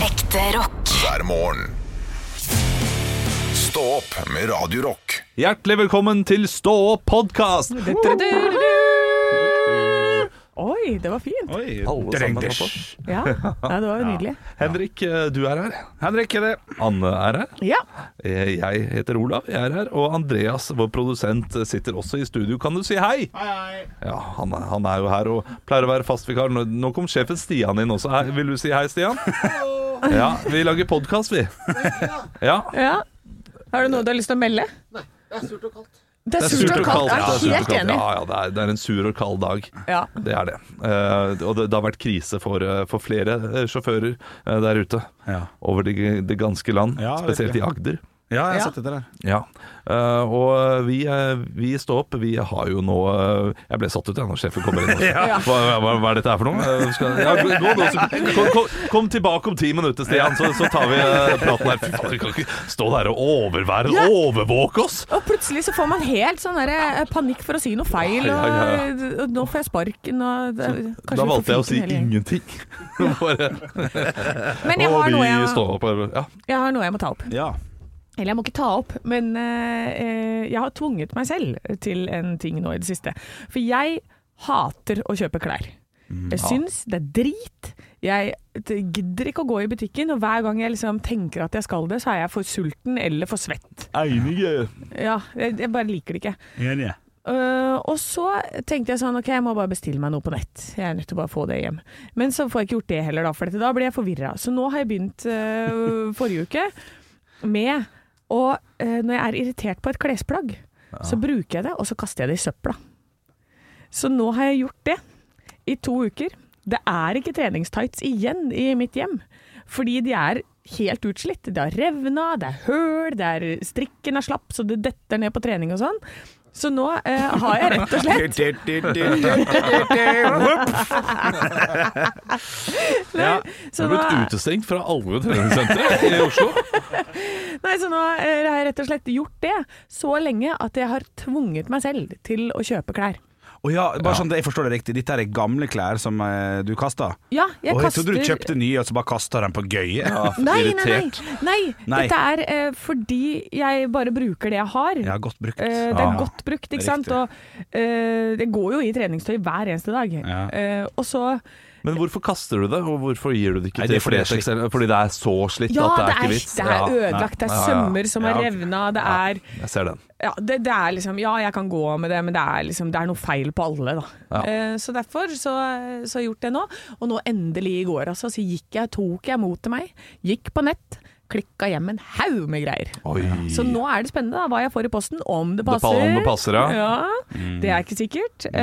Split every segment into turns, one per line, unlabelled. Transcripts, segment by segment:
Ekte rock.
hver morgen. Stå opp med Radio Rock.
Hjertelig velkommen til Stå opp-podkast!
Oi, det var fint. Ja, Nei, det var jo nydelig.
Henrik, eh, du er her. Henrik er det. Anne er her.
Ja.
Eh, Jeg heter Olav, jeg er her. Og Andreas, vår produsent, eh, sitter også i studio. Kan du si hei? Hei, hei. Ja, han er, han er jo her og pleier å være fastvikar. Nå, nå kom sjefen Stian inn også. Hei, vil du si hei, Stian? Ja, vi lager podkast, vi. Ja.
ja. Har du noe du har lyst til å melde? Nei. Det er surt og kaldt. Det
Ja,
er
surt og
surt og kaldt. Jeg er helt
kaldt.
enig.
Ja, ja, det er, det er en sur og kald dag.
Ja.
Det er det. Eh, og det, det har vært krise for, eh, for flere eh, sjåfører eh, der ute.
Ja.
Over det, det ganske land,
Ja, jeg vet
spesielt i Agder.
Ja, jeg har
Ja.
sett etter der.
Ja. Eh, og vi, eh, vi i Stå opp, vi har jo nå eh, Jeg ble satt ut, jeg, når sjefen kommer inn. også.
Ja.
Hva, hva, hva er dette her for noe? Eh, skal, ja, gå, gå, nå, så- kom, kom, kom tilbake om ti minutter, Stian, så, så tar vi eh, praten her. Fy faen, vi kan ikke stå der og overvære
Ja.
Overvåke oss!
Og plutselig så får man helt sånn der, eh, panikk for å si noe feil,
Ja, ja,
og, og nå får jeg sparken og det- kanskje
da
vi får
valgte jeg å si
fiken hele gjengen.
ingenting. Bare,
Men jeg
og
har,
vi
noe jeg,
står opp. og- Ja.
jeg har noe jeg må ta opp.
Ja.
Eller jeg må ikke ta opp, men eh, eh, jeg har tvunget meg selv til en ting nå i det siste. For jeg hater å kjøpe klær. Jeg syns det er drit. Jeg t- gidder ikke å gå i butikken, og hver gang jeg liksom tenker at jeg skal det, så er jeg for sulten eller for svett.
Einige.
Ja, jeg, jeg bare liker det ikke.
Enige.
Eh, og så tenkte jeg sånn, ok, jeg må bare bestille meg noe på nett. Jeg er nødt til å bare få det hjem. Men så får jeg ikke gjort det heller, da, for dette, da blir jeg forvirra. Så nå har jeg begynt eh, forrige uke med å eh, Når jeg er irritert på et klesplagg, så bruker jeg det, og så kaster jeg det i søpla. Så nå har jeg gjort det i to uker. Det er ikke treningstights igjen i mitt hjem, fordi de er helt utslitt. Det har revna, det er høl, det er strikken er slapp, så det detter ned på trening og sånn. Så nå eh, har jeg rett og slett
Ja.
så
du har
nå-
blitt utestengt fra alle treningssentre i Oslo.
Nei, så nå eh, har jeg rett og slett gjort det så lenge at jeg har tvunget meg selv til å kjøpe klær.
Og ja, bare sånn at jeg forstår det riktig, dette er gamle klær som eh, du kasta?
Ja, jeg
Og jeg
kaster
trodde du kjøpte nye og så bare kasta dem på gøyet.
Nei, nei, nei,
irritert.
nei.
Nei.
Dette er eh, fordi jeg bare bruker det jeg har.
Ja, godt brukt.
Eh, det er
Ja.
godt brukt, ikke
Riktig.
sant. Og eh, det går jo i treningstøy hver eneste dag.
Ja.
Eh, og så
Men hvorfor kaster du det, og hvorfor gir du det ikke
Nei,
til
det er fordi det er
Fretex? eller- Fordi det er så slitt
Ja,
at det er
det
ikke
er,
vits?
det er
Ja,
ødelagt, det er
Ja, ja.
sømmer som
Ja,
har
ok.
revna, det er
jeg ser den.
ja, det, det er liksom Ja, jeg kan gå med det, men det er, liksom, det er noe feil på alle, da.
Ja.
Eh, så derfor så, så har jeg gjort det nå. Og nå endelig i går, altså, så gikk jeg, tok jeg mot til meg. Gikk på nett. Klikka hjem en haug med greier.
Oi.
Så nå er det spennende da, hva jeg får i posten, om det
Det
passer.
om det passer, ja. Mm.
Det er ikke sikkert. Eh,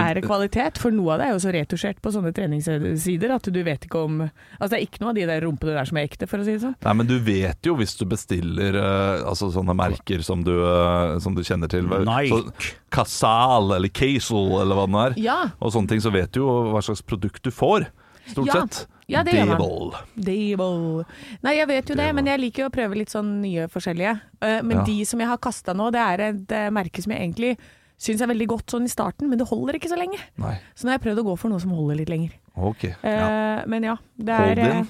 er det kvalitet? For noe av det er jo så retusjert på sånne treningssider at du vet ikke om Altså det er ikke noe av de der rumpene der som er ekte, for å si det sånn.
Nei, men du vet jo hvis du bestiller eh, altså sånne merker som du, eh, som du kjenner til. hva-
Nike.
Så, Casal eller Casel eller hva den er.
Ja.
Og sånne ting, så vet du jo hva slags produkt du får. Stort
Ja.
sett.
Ja, det gjør man.
Devil.
Dable. Nei, jeg vet jo det, men jeg liker jo å prøve litt sånn nye forskjellige. Eh, Men
Ja.
de som jeg har kasta nå, det er et eh, merke som jeg egentlig syns er veldig godt sånn i starten, men det holder ikke så lenge.
Nei.
Så nå har jeg prøvd å gå for noe som holder litt lenger.
Ok.
Eh, Men ja, det
Hold
er eh,
in.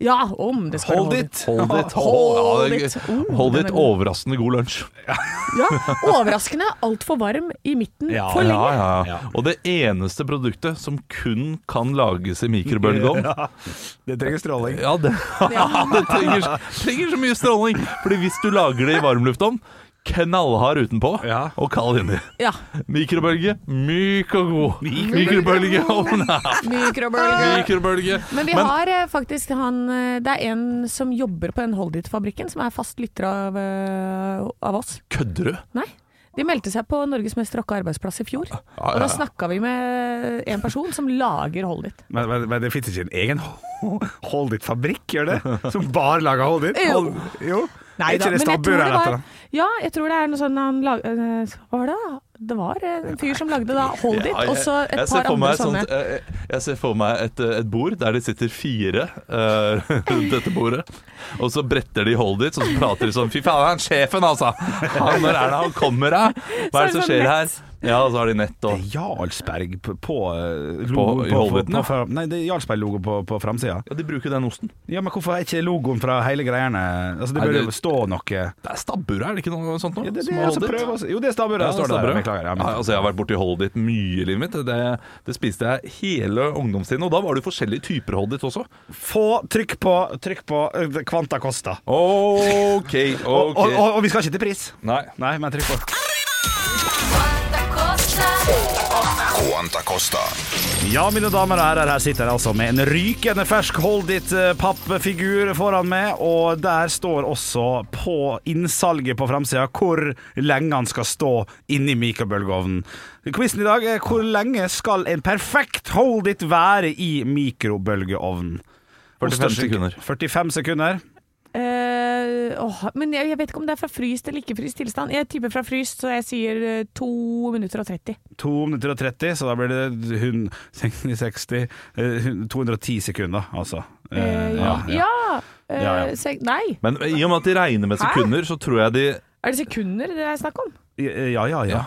Ja, om det skal
Hold
være
it.
Hold it,
Hold
ja, det er
it.
gøy.
Oh,
hold it
den er god.
overraskende god lunsj.
Ja, overraskende altfor varm i midten
Ja.
for lenge.
ja,
Ja.
Og det eneste produktet som kun kan lages i mikrobølgeovn
Det trenger stråling.
Ja, det, det trenger, trenger så mye stråling! Fordi hvis du lager det i varmluftovn, knallhard utenpå
Ja.
og kald inni.
Ja.
Mikrobølge, myk og god. Mikrobølgeovn!
Mikrobølge.
Mikrobølge.
Men vi har eh, faktisk han eh, Det er en som jobber på den Holdit-fabrikken, som er fast lytter av, eh, av oss.
kødder du?
Nei. De meldte seg på Norges mest rocka arbeidsplass i fjor. Og da snakka vi med en person som lager Holdit.
Men, men, men det fins ikke en egen Hold It-fabrikk, gjør det? Som bare lager Hold It?
Jo.
Hold, jo. Er ikke det
jeg tror
stabburet
det
her etter
var Ja, jeg tror det er noe sånn han lag, eh, Hva var det da? Det var eh, en fyr som lagde da Holdit,
Ja, jeg-
og så et
jeg ser
par
for meg
andre
et
sånne.
sånt, eh, jeg ser for meg et, eh, et bord der det sitter fire eh, rundt dette bordet. Og så bretter de hold dit, og så prater de sånn Fy faen, han sjefen, altså! Han, når er det han kommer, da? Hva er det
Så er det
som
sånn
skjer her?
nett.
Ja, og så har de nett
Det
og
er Jarlsberg på, på eh,
På-
logo,
i
på, på,
Holbøten,
på,
ja.
fra- Nei, det er Jarlsberg-logo på, på framsida.
Ja, de bruker den osten.
Ja, men hvorfor er ikke logoen fra hele greiene Altså, Det
Nei,
bør
det-
jo stå noe
Det er stabburet, er det ikke noe sånt noe?
ja, det,
som
det,
har
altså,
holdt dit?
prøv, å- Jo, det er stabburet.
Ja,
det står
stabburet.
der. Beklager. Ja, men,
Nei, altså, jeg har vært borti Holdit mye i livet mitt. Det, det spiste jeg hele ungdomstiden. Og da var det jo forskjellige typer Holdit også.
Få trykk på, trykk på eh, Quanta Costa.
OK,
Og,
OK.
og, og, og vi skal ikke til pris.
Nei.
Nei, men trykk på.
Quanta Costa.
Ja, mine damer og herrer, her sitter jeg altså med en rykende fersk Hold It-pappfigur foran meg. Og der står også på innsalget på framsida hvor lenge han skal stå inni mikrobølgeovnen. Quizen i dag er hvor lenge skal en perfekt Hold It være i mikrobølgeovnen?
45 sekunder.
45 sekunder.
Eh, åh, men jeg, jeg vet ikke om det er fra fryst eller ikke fryst tilstand. Jeg tipper fra fryst, så jeg sier eh, to minutter og 30.
2 minutter og 30, så da blir det hun- 60, 60, eh, hun- 210 sekunder, altså. Eh,
Eh, ja. Eh,
Ja, ja.
sek- nei,
Men i og med at de regner med
Hæ?
sekunder, så tror jeg de
er det sekunder det er snakk om?
Ja, ja, ja.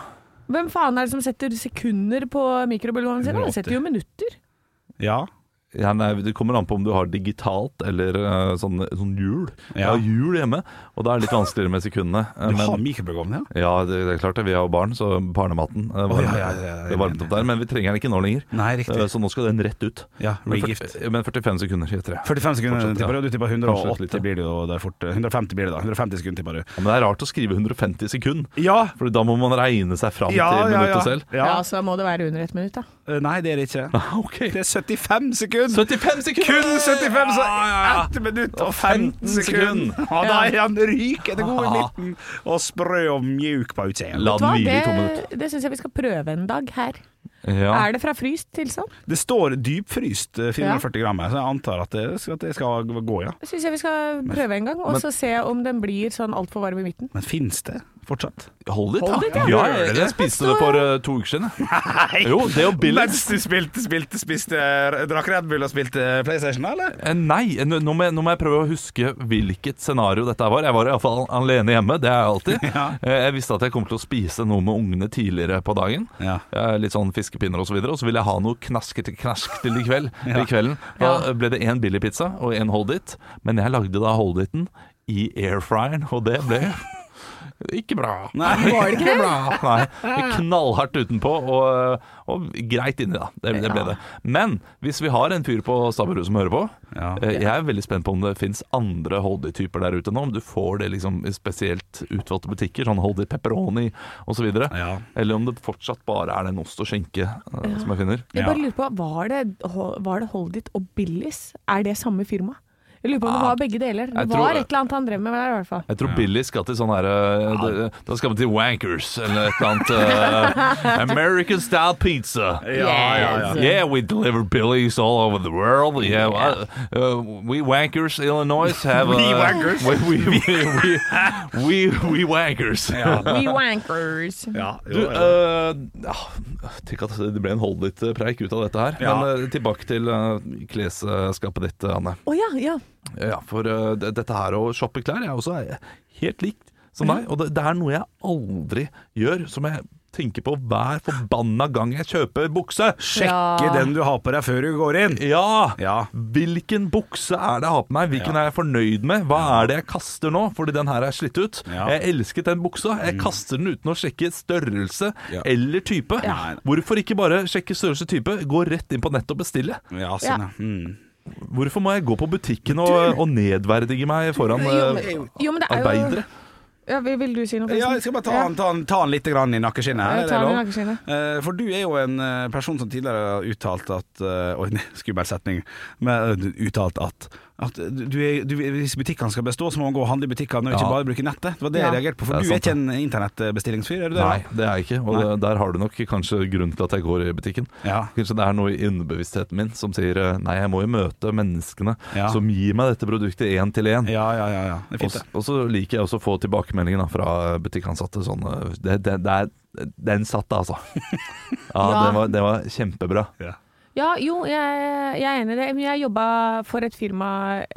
Hvem faen er det som setter sekunder på mikrobølgeovnen sin? Han setter jo minutter.
ja.
ja, nei, Det kommer an på om du har digitalt eller eh, sånn, sånn hjul. Jeg
Ja.
har hjul hjemme, og da er det litt vanskeligere med sekundene. eh,
Du
men-
har mikrobølgeovn, ja?
Ja, det, det er klart det. Vi har jo barn, så barnematen eh, varmer,
ja, ja, ja, ja, ja.
det varmet opp der. Men vi trenger den ikke nå lenger.
Nei, riktig.
Eh, Så nå skal den rett ut.
Ja,
Men førti-
regift.
Men 45 sekunder, gjetter jeg.
45 sekunder
Fortsatt,
tipper
ja.
du. Du tipper
Kanskje litt,
180
ja.
blir det jo der fort. 150 blir det da. 150 sekunder tipper du.
Ja, Men det er rart å skrive 150 sekund,
Ja!
for da må man regne seg fram
Ja,
til
ja, ja.
minuttet selv.
Ja.
ja.
så må det være under et minutt, da.
Eh, Nei, det er det ikke. Det
Ok,
er 75 sekunder!
75 sekunder!
Kun 75, så
Ja, ja, ja.
1 minutt og
15
15
sekund.
sekunder! Ja, da er han rykende god i midten, og sprø og mjuk på utseendet.
La
Vet du hva?
den hvile i to minutter.
Det, det syns jeg vi skal prøve en dag her.
Ja.
Er det fra sånn? fryst tilstand?
Det står dypfryst eh, 440 gram her, så jeg antar at det, at det skal gå, ja.
Det syns jeg vi skal prøve en gang, og så se om den blir sånn altfor varm i midten.
Men fins det fortsatt?
Hold it,
Hold it, ja.
ja. ja jeg, jeg spiste det for eh, to uker siden. jeg.
Nei!
Jo, det er jo billig.
Mens du spilte, spilte, spiste, drakk Red Bull og spilte PlayStation, eller?
Eh, Nei, nå nå må, jeg, nå må jeg prøve å huske hvilket scenario dette var. Jeg var iallfall alene hjemme, det er jeg alltid. Eh, Jeg visste at jeg kom til å spise noe med ungene tidligere på dagen.
Ja.
Eh, Litt sånn fiskepinner og så videre. Og så ville jeg ha noe knaskete knask til i kveld.
Ja.
I kvelden. Da eh, ble det én billig pizza og én hold it. Men jeg lagde da hold it-en i airfryeren, og det ble ikke bra.
Nei.
Var det ikke bra? Nei. Knallhardt utenpå og, og greit inni, da. Det, det ble det. Men hvis vi har en fyr på stabburet som hører på
Ja.
eh, Jeg er veldig spent på om det fins andre holdig-typer der ute nå. Om du får det liksom i spesielt utvalgte butikker, sånn holdig pepperoni osv.
Ja.
Eller om det fortsatt bare er den ost og skinke eh, som jeg finner.
Jeg
Ja.
bare lurer på, Var det, var det Holdit og Billis? Er det samme firma? Jeg lurer på om det var begge deler. Det
jeg tror-
var et eller annet han drev med der, i hvert fall.
Jeg tror Billy skal til sånn her eh, det- Da skal vi til Wankers eller et eller annet. eh, American style pizza. Yeah, we deliver Billies all over the world. Yeah, uh, uh, we wankers, Illinois have a,
We wankers.
We we we we, we, we wankers.
We wankers.
Ja, jo,
Du,
jo.
eh, ja, tenk at det ble en hold-it-preik ut av dette her.
Ja.
Men eh, tilbake til eh, klesskapet ditt, eh, Anne.
Å ja, ja.
Ja, for eh, det- dette her å shoppe klær, jeg er også er helt likt som deg. Og det, det er noe jeg aldri gjør, som jeg tenker på hver forbanna gang jeg kjøper bukse.
Sjekke
Ja.
den du har på deg før du går inn.
Ja!
Ja.
Hvilken bukse er det jeg har på meg? Hvilken er jeg fornøyd med? Hva er det jeg kaster nå? Fordi den her er slitt ut.
Ja. Mm.
Jeg elsket den buksa. Jeg kaster den uten å sjekke størrelse
Ja.
eller type.
Ja.
Hvorfor ikke bare sjekke størrelse og type? Gå rett inn på nettet og bestille.
Ja, sånn, ja. Mm.
Hvorfor må jeg gå på butikken og, og nedverdige meg foran
Jo,
eh,
men, jo, men det er jo
arbeidere?
ja, vil- Vil du si noe?
ja,
forresten?
jeg skal bare ta
Ja.
han, ta han, ta han litt grann i nakkeskinnet. her,
Ja, ta
er det
han i
lov?
nakkeskinnet.
Eh, For du er jo en eh, person som tidligere har uttalt at eh, Oi, nei, skummel setning. Men eh, du- uttalt at at du er, du, hvis butikkene skal bestå, så må man gå og handle i butikkene og ikke
Ja.
bare bruke nettet. Det var det
Ja.
jeg reagerte på, for
Det er
du er
sant,
ikke en internettbestillingsfyr, er du det?
Nei,
da?
det er jeg ikke. Og
Nei.
det, der har du nok kanskje grunnen til at jeg går i butikken.
Ja.
Kanskje det er noe i underbevisstheten min som sier eh, nei, jeg må jo møte menneskene
Ja.
som gir meg dette produktet én til én.
Ja, ja, ja, ja. Det er
Og,
fint, det.
og så liker jeg også å få tilbakemeldinger da, fra butikkansatte. Sånn, eh, det, det, det er, den satt, da, altså. Ja,
Ja.
Det, var, det var kjempebra.
Ja, jo, jeg, jeg er enig i det. Men jeg jobba for et firma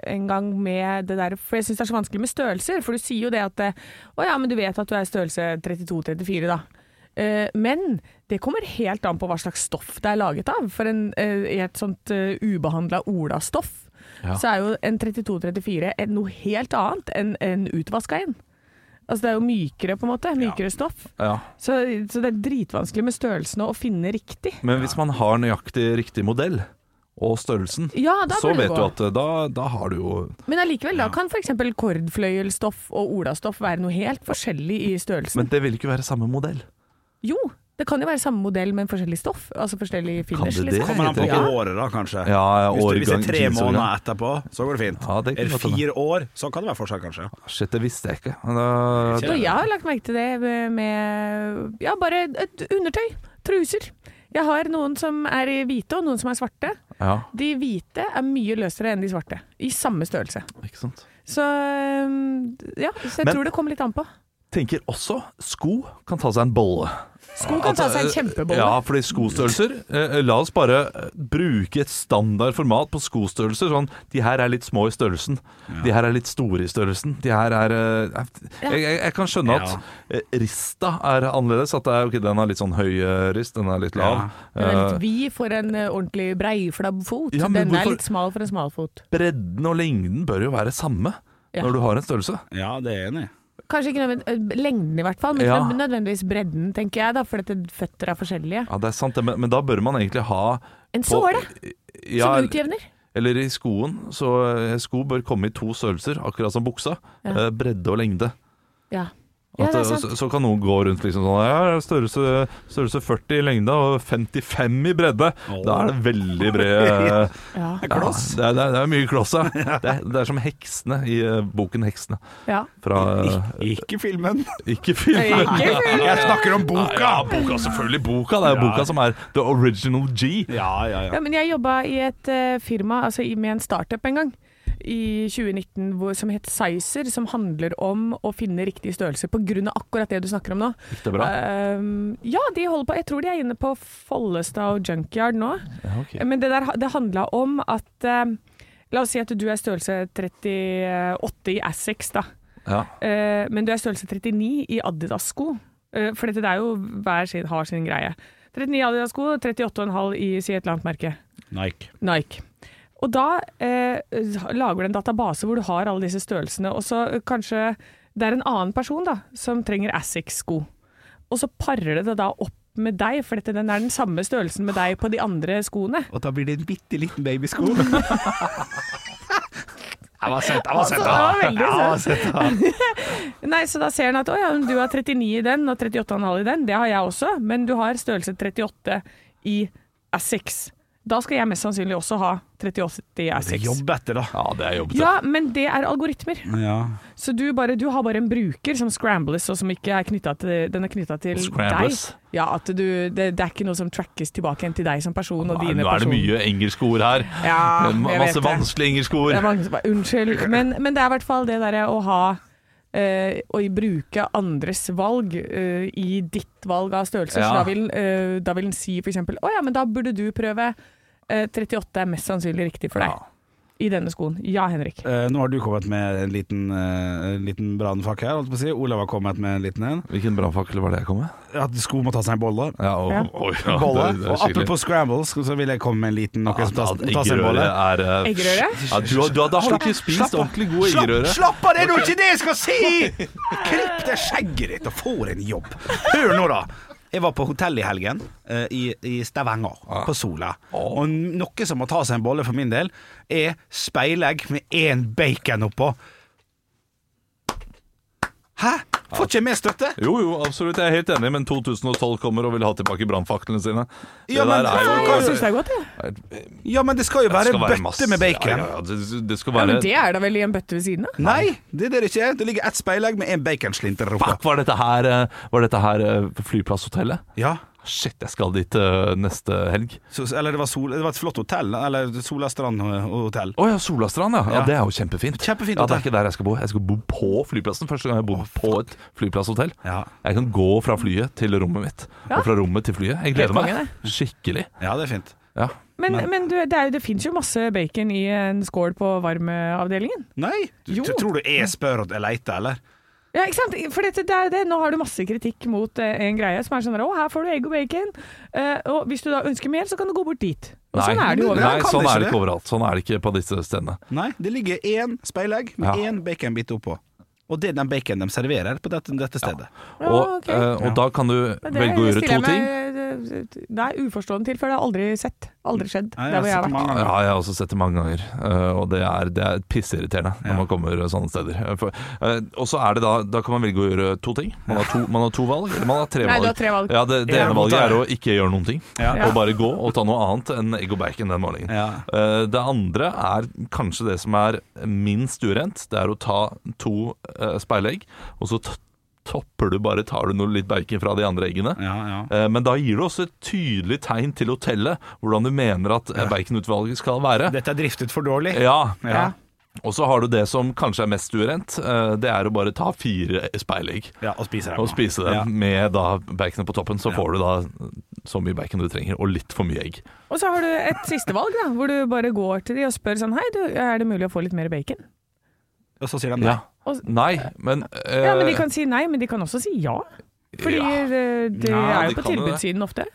en gang med det der For jeg syns det er så vanskelig med størrelser. For du sier jo det at eh, Å ja, men du vet at du er størrelse 32-34, da. Eh, Men det kommer helt an på hva slags stoff det er laget av. For en, eh, i et sånt ubehandla olastoff,
Ja.
så er jo en 32-34 et- noe helt annet enn en utvaska en. Altså det er jo mykere, på en måte. Mykere stoff.
Ja.
Så, så det er dritvanskelig med størrelsene å finne riktig.
Men hvis man har nøyaktig riktig modell og størrelsen,
Ja, da
så
burde det
vet
gå.
du at eh, da, da har du jo
Men allikevel, da kan f.eks. kordfløyelstoff og olastoff være noe helt forskjellig i størrelsen.
Men det vil ikke være samme modell.
jo, det kan jo være samme modell, men forskjellig stoff. Altså forskjellig finish.
det det?
liksom.
Kommer an på
Ja.
året, da, kanskje.
Ja, ja,
hvis, du, hvis det
årgang,
er tre
jeansårgang.
måneder etterpå, så går det fint.
Ja, det kan
er det
godt hende.
fire år, så kan det være forskjell, kanskje.
Shit, det visste jeg ikke. Men Da,
Ikke
Og jeg har lagt merke til det med- med ja, bare et undertøy. Truser. Jeg har noen som er i hvite, og noen som er svarte.
ja,
De hvite er mye løsere enn de svarte. I samme størrelse.
ikke sant.
Så øhm, ja, så jeg
Men-
tror det kommer litt an på.
Tenker også sko kan ta seg en bolle.
Sko kan ta seg en
Altså, eh,
kjempebolle.
Ja, fordi skostørrelser eh, La oss bare eh, bruke et standardformat på skostørrelser. Sånn, de her er litt små i størrelsen. De her er litt store i størrelsen. De her er eh, Jeg, jeg, jeg kan skjønne at
Ja.
eh, rista er annerledes. At det er, ok, den har litt sånn høy eh, rist, den er litt lav.
Den er
Eh,
litt vid for en eh, ordentlig breiflabb fot.
Ja, men
den
hvorfor-
er litt smal for en smal fot.
bredden og lengden bør jo være samme
Ja.
når du har en størrelse.
Ja, det er jeg enig i.
Kanskje ikke nødvendig, eh, lengden i hvert fall, men
Ja.
ikke nødvendigvis bredden, tenker jeg, da, for dette føtter er forskjellige.
Ja, det er sant, det, men, men da bør man egentlig ha
En
på-
såle
ja,
som utjevner.
Eller i skoen. Så eh, sko bør komme i to størrelser, akkurat som buksa.
Ja.
Eh, Bredde og lengde.
Ja. ja,
At,
det er
eh,
sant.
så, så kan noen gå rundt liksom sånn ja, størrelse, størrelse 40 i lengde og 55 i bredde. Da er det veldig bred eh,
Ja.
ja, det, er, det, er, det er mye kloss, ja. Det er, det er som heksene i eh, boken 'Heksene'.
Ja.
Fra
Ik- Ikke filmen.
eh, Ikke filmen.
Ikke full.
Jeg snakker om
Boka! Ja,
boka!
boka, selvfølgelig boka. Det er jo
Ja.
boka som er the original G.
Ja, ja, ja.
Ja, men jeg jobba i et eh, firma, altså i- med en startup en gang, i 2019 hvor, som het Sizer, som handler om å finne riktig størrelse på grunn av akkurat det du snakker om nå.
Gikk det bra?
Ehm, ja, de holder på. Jeg tror de er inne på Follestad og Junkyard nå.
Ja, ok.
Men det der det handla om at eh, La oss si at du er størrelse 38 i Assex, da.
Ja.
Eh, men du er størrelse 39 i Adidas-sko. Eh, for dette det er jo hver sin, har sin greie. 39 i Adidas-sko, 38,5 i si et eller annet merke.
Nike.
Nike. Og da eh, lager du en database hvor du har alle disse størrelsene, og så eh, kanskje det er en annen person da, som trenger Asics-sko. Og så parer det det da opp med deg, for dette, den er den samme størrelsen med deg på de andre skoene.
Og da blir det en bitte liten babysko. Jeg var søt, jeg var søt.
det var veldig
Jeg var søt.
Nei, så da ser han at å ja, du har 39 i den og 38,5 i den, det har jeg også, men du har størrelse 38 i Asics. Da skal jeg mest sannsynlig også ha 38 i Asics.
Jobb etter, da.
ja, det er jobbete.
Ja, men det er algoritmer.
Ja.
Så du, bare, du har bare en bruker som scrambles, og som ikke er knyttet til, den er knytta til
Scrambles?
deg. Ja, at du, det, det er ikke noe som trackes tilbake igjen til deg som person og
Nei,
dine
nå er det
person.
mye engelske ord her.
Ja,
Det er ma-
jeg
Masse
vet det.
vanskelige engelske ord.
Det er mange som bare, unnskyld. Men, men det er i hvert fall det derre å ha eh, Å bruke andres valg eh, i ditt valg av størrelse.
Ja.
Så da vil, eh, da vil den si f.eks.: Å ja, men da burde du prøve eh, 38 er mest sannsynlig riktig for deg
Ja.
i denne skoen. Ja, Henrik.
Eh, nå har du kommet med en liten, uh, liten brannfakk her, holdt på å si. Olav har kommet med en liten en.
Hvilken brannfakkel var det jeg kom med?
At sko må ta seg en bolle.
Ja, og,
Ja.
Oi, ja,
bolle.
det- det er
og
skikkelig.
apropos scrambles, så vil jeg komme med en liten noe som
Ja,
tar,
at
tar seg en
Eggerøre
bolle.
er eh,
Eggerøre?
Ja, du, har- du, har- da har du ikke
Slapp
spist
av.
ordentlig gode
Slapp-
eggerøre.
Slapp av, det er jo ikke det jeg skal si! Klipp det skjegget ditt og få deg en jobb. Hør nå, da. Jeg var på hotell i helgen, eh, i, i Stavanger,
Ah.
på Sola. Og noe som må ta seg en bolle for min del, er speilegg med én bacon oppå. Hæ? Får ikke jeg mer støtte?
Jo, jo, absolutt. Jeg er helt enig, men 2012 kommer og vil ha tilbake brannfaklene sine. Det
Ja,
der
men- Ja,
Jeg
er jo
syns det er godt, jeg. Ja.
Ja, men det skal jo være
skal være
bøtte
masse-
med
Ja,
bacon.
ja, ja, det, det skal
Ja,
være
men det er da vel i en bøtte ved siden av?
Nei, det er det ikke. Det ligger ett speilegg med én baconslinter oppå.
Fuck, var dette her, eh, var dette her eh, flyplasshotellet?
Ja.
Shit, jeg skal dit eh, neste helg.
Så, eller det var, sol, det var et flott hotell. Eller Sola Strand hotell.
Å ja, Solastrand, ja. ja.
Ja.
Det er jo kjempefint.
Kjempefint
ja, Det
hotell.
er ikke der jeg skal bo. Jeg skal bo på flyplassen. Første gang jeg bor på et flyplasshotell.
Ja.
Jeg kan gå fra flyet til rommet mitt,
Ja.
og fra rommet til flyet. Jeg
Helt
gleder meg
konge,
skikkelig.
Ja, det er fint.
Ja.
Men,
Men-
men, du, det, er, jo- det fins jo masse bacon i en skål på varmeavdelingen.
Nei,
Jo.
du, tror du jeg spør og jeg leter, eller?
Ja, ikke sant? For dette, det er jo det. Nå har du masse kritikk mot eh, en greie som er sånn der, Å, her får du egg og bacon. Eh, og hvis du da ønsker mer, så kan du gå bort dit. Og sånn er det jo
Nei,
overalt.
Kan
sånn
det
er
ikke
det ikke overalt. Sånn er det ikke på disse stedene.
Nei, det ligger én speilegg med
Ja.
én baconbit oppå. Og det er den bacon de serverer på dette, dette stedet.
Ja,
Og,
ok.
eh, og da kan du
Men
velge å gjøre
stiller
to
jeg
ting.
meg, eh, Nei, uforstående til, for det har jeg aldri sett. Aldri skjedd.
Nei,
der hvor jeg
har
har
sett
vært.
mange ganger.
Ja, jeg har også sett det mange ganger, eh, og det er, det er pissirriterende når
Ja.
man kommer sånne steder. Eh, for- eh, Og så er det da Da kan man velge å gjøre to ting. Man har to, man har to valg, eller man har tre
Nei,
valg.
du har tre valg.
Ja, det, det
Ja,
ene
godt
valget
er
er å ikke gjøre noen ting,
Ja.
og bare gå og ta noe annet enn egg og bacon den morgenen.
Ja.
Eh, Det andre er kanskje det som er minst urent. Det er å ta to eh, speilegg, og så t- topper du bare Tar du noe litt bacon fra de andre eggene.
Ja, ja.
Eh, Men da gir du også et tydelig tegn til hotellet hvordan du mener at eh, baconutvalget skal være.
Dette er driftet for dårlig.
Ja.
Ja.
Og så har du det som kanskje er mest urent. eh, Det er å bare ta fire speilegg
Ja, og spiser dem.
og spise dem
Ja.
med da baconet på toppen. Så får du da så mye bacon du trenger, og litt for mye egg.
Og så har du et siste valg, da, hvor du bare går til de og spør sånn Hei, du, er det mulig å få litt mer bacon?
Og så sier de nei.
Ja. Nei, men eh,
Ja, men de kan si nei, men de kan også si ja. Fordi
ja.
eh, det
Ja,
er
de
jo
kan jo
på
det.
tilbudssiden ofte.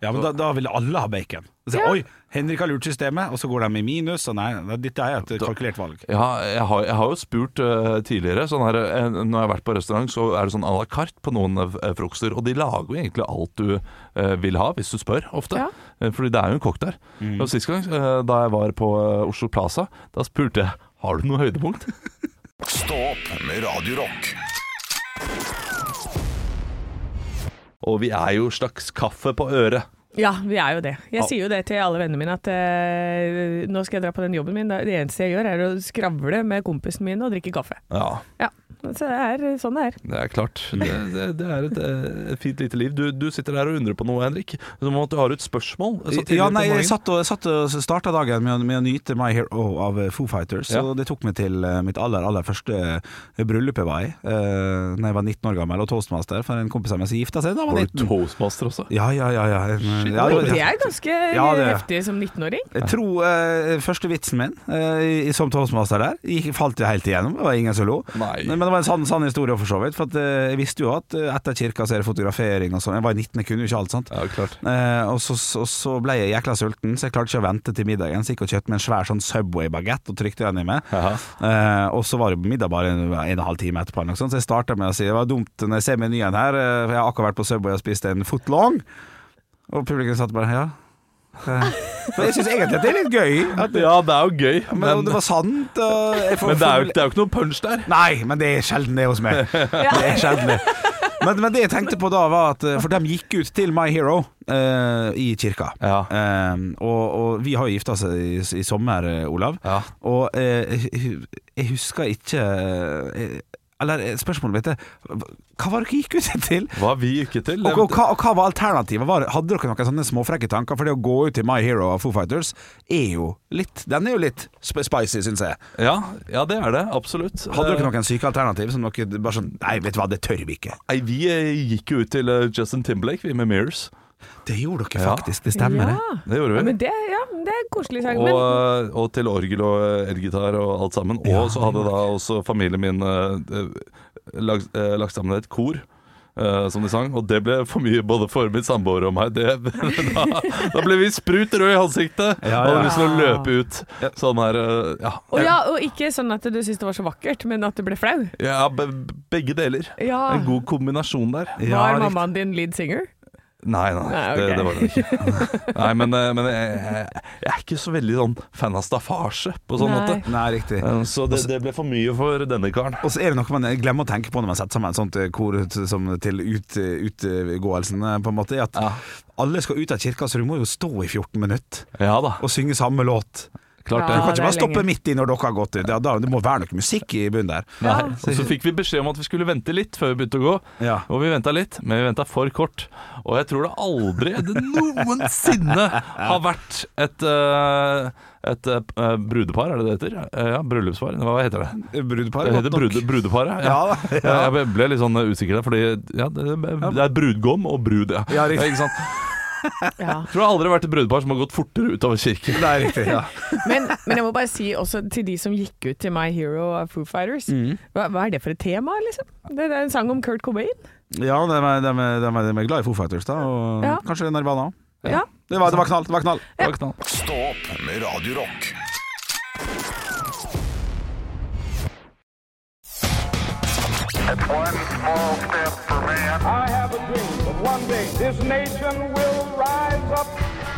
Ja, men da, da vil alle ha bacon. Så, sier,
Ja.
Oi, Henrik har lurt systemet, og så går de i minus. Og nei, dette er et kalkulert valg.
Ja, jeg har, jeg har jo spurt eh, tidligere. Sånn her, eh, når jeg har vært på restaurant, så er det sånn à la carte på noen eh, frokoster. Og de lager jo egentlig alt du eh, vil ha, hvis du spør, ofte.
Ja.
Eh, fordi det er jo en kokk der. Og Sist gang, eh, da jeg var på eh, Oslo Plaza, da spurte jeg har du noe høydepunkt.
Stå opp med Radio Rock.
Og vi er jo slags kaffe på øret.
Ja, vi er jo det. Jeg sier jo det til alle vennene mine at eh, nå skal jeg dra på den jobben min. Det eneste jeg gjør er å skravle med kompisen min og drikke kaffe.
Ja,
Ja, så det er sånn det er.
det er klart. Det, det, det er et, eh, et fint lite liv. Du, du sitter der og undrer på noe, Henrik. Som om at du har et spørsmål. så tidlig
Ja,
på
nei,
morgenen.
jeg satt og, jeg satt og starta dagen med å, med å nyte My Hero av eh, Foo Fighters.
Ja.
Så det tok meg til eh, mitt aller aller første eh, bryllup jeg var i, uh, Når jeg var 19 år gammel og toastmaster for en kompis av meg som gifta seg da han var
Var du
19.
toastmaster også?
Ja, ja, ja. ja. eh,
Shit.
ja,
Men
ja.
Det er ganske
Ja, det er-
heftig som 19-åring.
Jeg tror eh, første vitsen min eh, i- som toastmaster der gikk, falt jeg helt igjennom. Det var ingen som lo.
Nei.
Men det var en sann, sann historie for så vidt. For at, eh, jeg visste jo at eh, etter kirka så er det fotografering og sånn. Jeg var 19, jeg kunne jo ikke alt, sant.
Ja, klart.
Eh, og, så, så, så ble jeg jækla sulten, så jeg klarte ikke å vente til middagen. Så gikk jeg og kjøpte meg en svær sånn Subway-bagett og trykte den i meg.
Jaha.
Eh, og så var det middag bare en, en og en halv time etterpå, eller noe sånt. så jeg starta med å si det var dumt når jeg ser menyen her, eh, for jeg har akkurat vært på Subway og spist en footlong. Og publikum satt bare ja. Eh, For jeg syns egentlig at det er litt gøy. At,
Ja, det er jo gøy,
men,
men,
og det var sant. og jeg får-
men det, er jo,
får-
det er jo ikke noe punch der.
Nei, men det er sjelden det hos meg. Det er sjelden det. Men, men det jeg tenkte på da, var at eh, For de gikk ut til My Hero eh, i kirka.
Ja.
Eh, og, og vi har jo gifta oss i, i sommer, eh, Olav.
Ja.
Og eh, hu- jeg husker ikke eh, Eller eh, spørsmålet mitt er Hva var det dere gikk ut til?
Hva vi ikke til?
Og, og, hva, og hva var alternativet? Var, hadde dere noen sånne småfrekke tanker? For det å gå ut til My Hero av Foo Fighters er jo litt Den er jo litt sp spicy, syns jeg.
Ja, ja, det er det. Absolutt.
Hadde
Eh,
dere noen syke alternativ som dere bare sånn Nei, vet du hva, det tør vi ikke.
Nei, vi eh, gikk jo ut til eh, Justin Timberlake, vi med Mirrors.
Det gjorde dere
Ja.
faktisk, det stemmer
ja.
det.
Det gjorde
Ja,
vi.
men det, ja, men det er en koselig sang.
Og,
Men
eh, og til orgel og eh, elgitar og alt sammen. Og så hadde da også familien min eh, eh, lag, eh, lagt sammen et kor. eh, som de sang, og det ble for mye både for min samboer og meg. Det, da, da ble vi sprut røde i ansiktet
Ja,
og
ja.
hadde lyst til å løpe ut. Sånn her eh, Ja,
og, ja, og ikke sånn at du syntes det var så vakkert, men at du ble flau.
ja be, begge deler.
Ja.
En god kombinasjon der.
Ah.
Ja,
Var
riktig.
mammaen din lead singer?
Nei, nei,
Nei, ok.
det, det var det ikke. Nei, men, eh, men jeg, jeg, jeg er ikke så veldig sånn fan av staffasje på sånn
Nei.
måte.
Nei, riktig.
Eh, Så det, det ble for mye for denne karen.
Og så er det noe man glemmer å tenke på når man setter sammen et sånt eh, kor t- som til ut, eh, utgåelsen, eh, på en måte, er at
Ja.
alle skal ut av kirka, så du må jo stå i 14 minutter
Ja da,
og synge samme låt.
klart
Du
det.
Ja,
kan
det
ikke
er
bare stoppe
lenge.
midt i når dere har gått ut. Ja, da, det må være noe musikk i bunnen der.
Nei. Og så fikk vi beskjed om at vi skulle vente litt før vi begynte å gå.
Ja.
Og vi venta litt, men vi venta for kort. Og jeg tror det aldri det noensinne har vært et, eh, et eh, brudepar, er det det heter? Eh, Ja, bryllupspar. Hva heter det?
Brudepar
Det
er
heter
godt nok.
brude, brudeparet.
Ja, ja.
Jeg ble- ble litt sånn usikker der, fordi ja, det, det er brudgom og brud, ja.
Ja, riktig.
ikke sant?
Ja.
Tror det har aldri vært et brudepar som har gått fortere ut av kirken.
Det er riktig, ja.
Men, men jeg må bare si også til de som gikk ut til My Hero av Foo Fighters.
Mm.
Hva, hva er det for et tema, liksom? Det, det er en sang om Kurt Cobain.
Ja, de er, de er, de er, de er glad i Foo Fighters, da. Og
Ja.
kanskje Nirvana òg.
Ja.
Det, var- det var knall. Det var knall.
Det var knall.
Stå opp med Radio Rock.
One small step for man. I have a dream that one day this nation will rise up.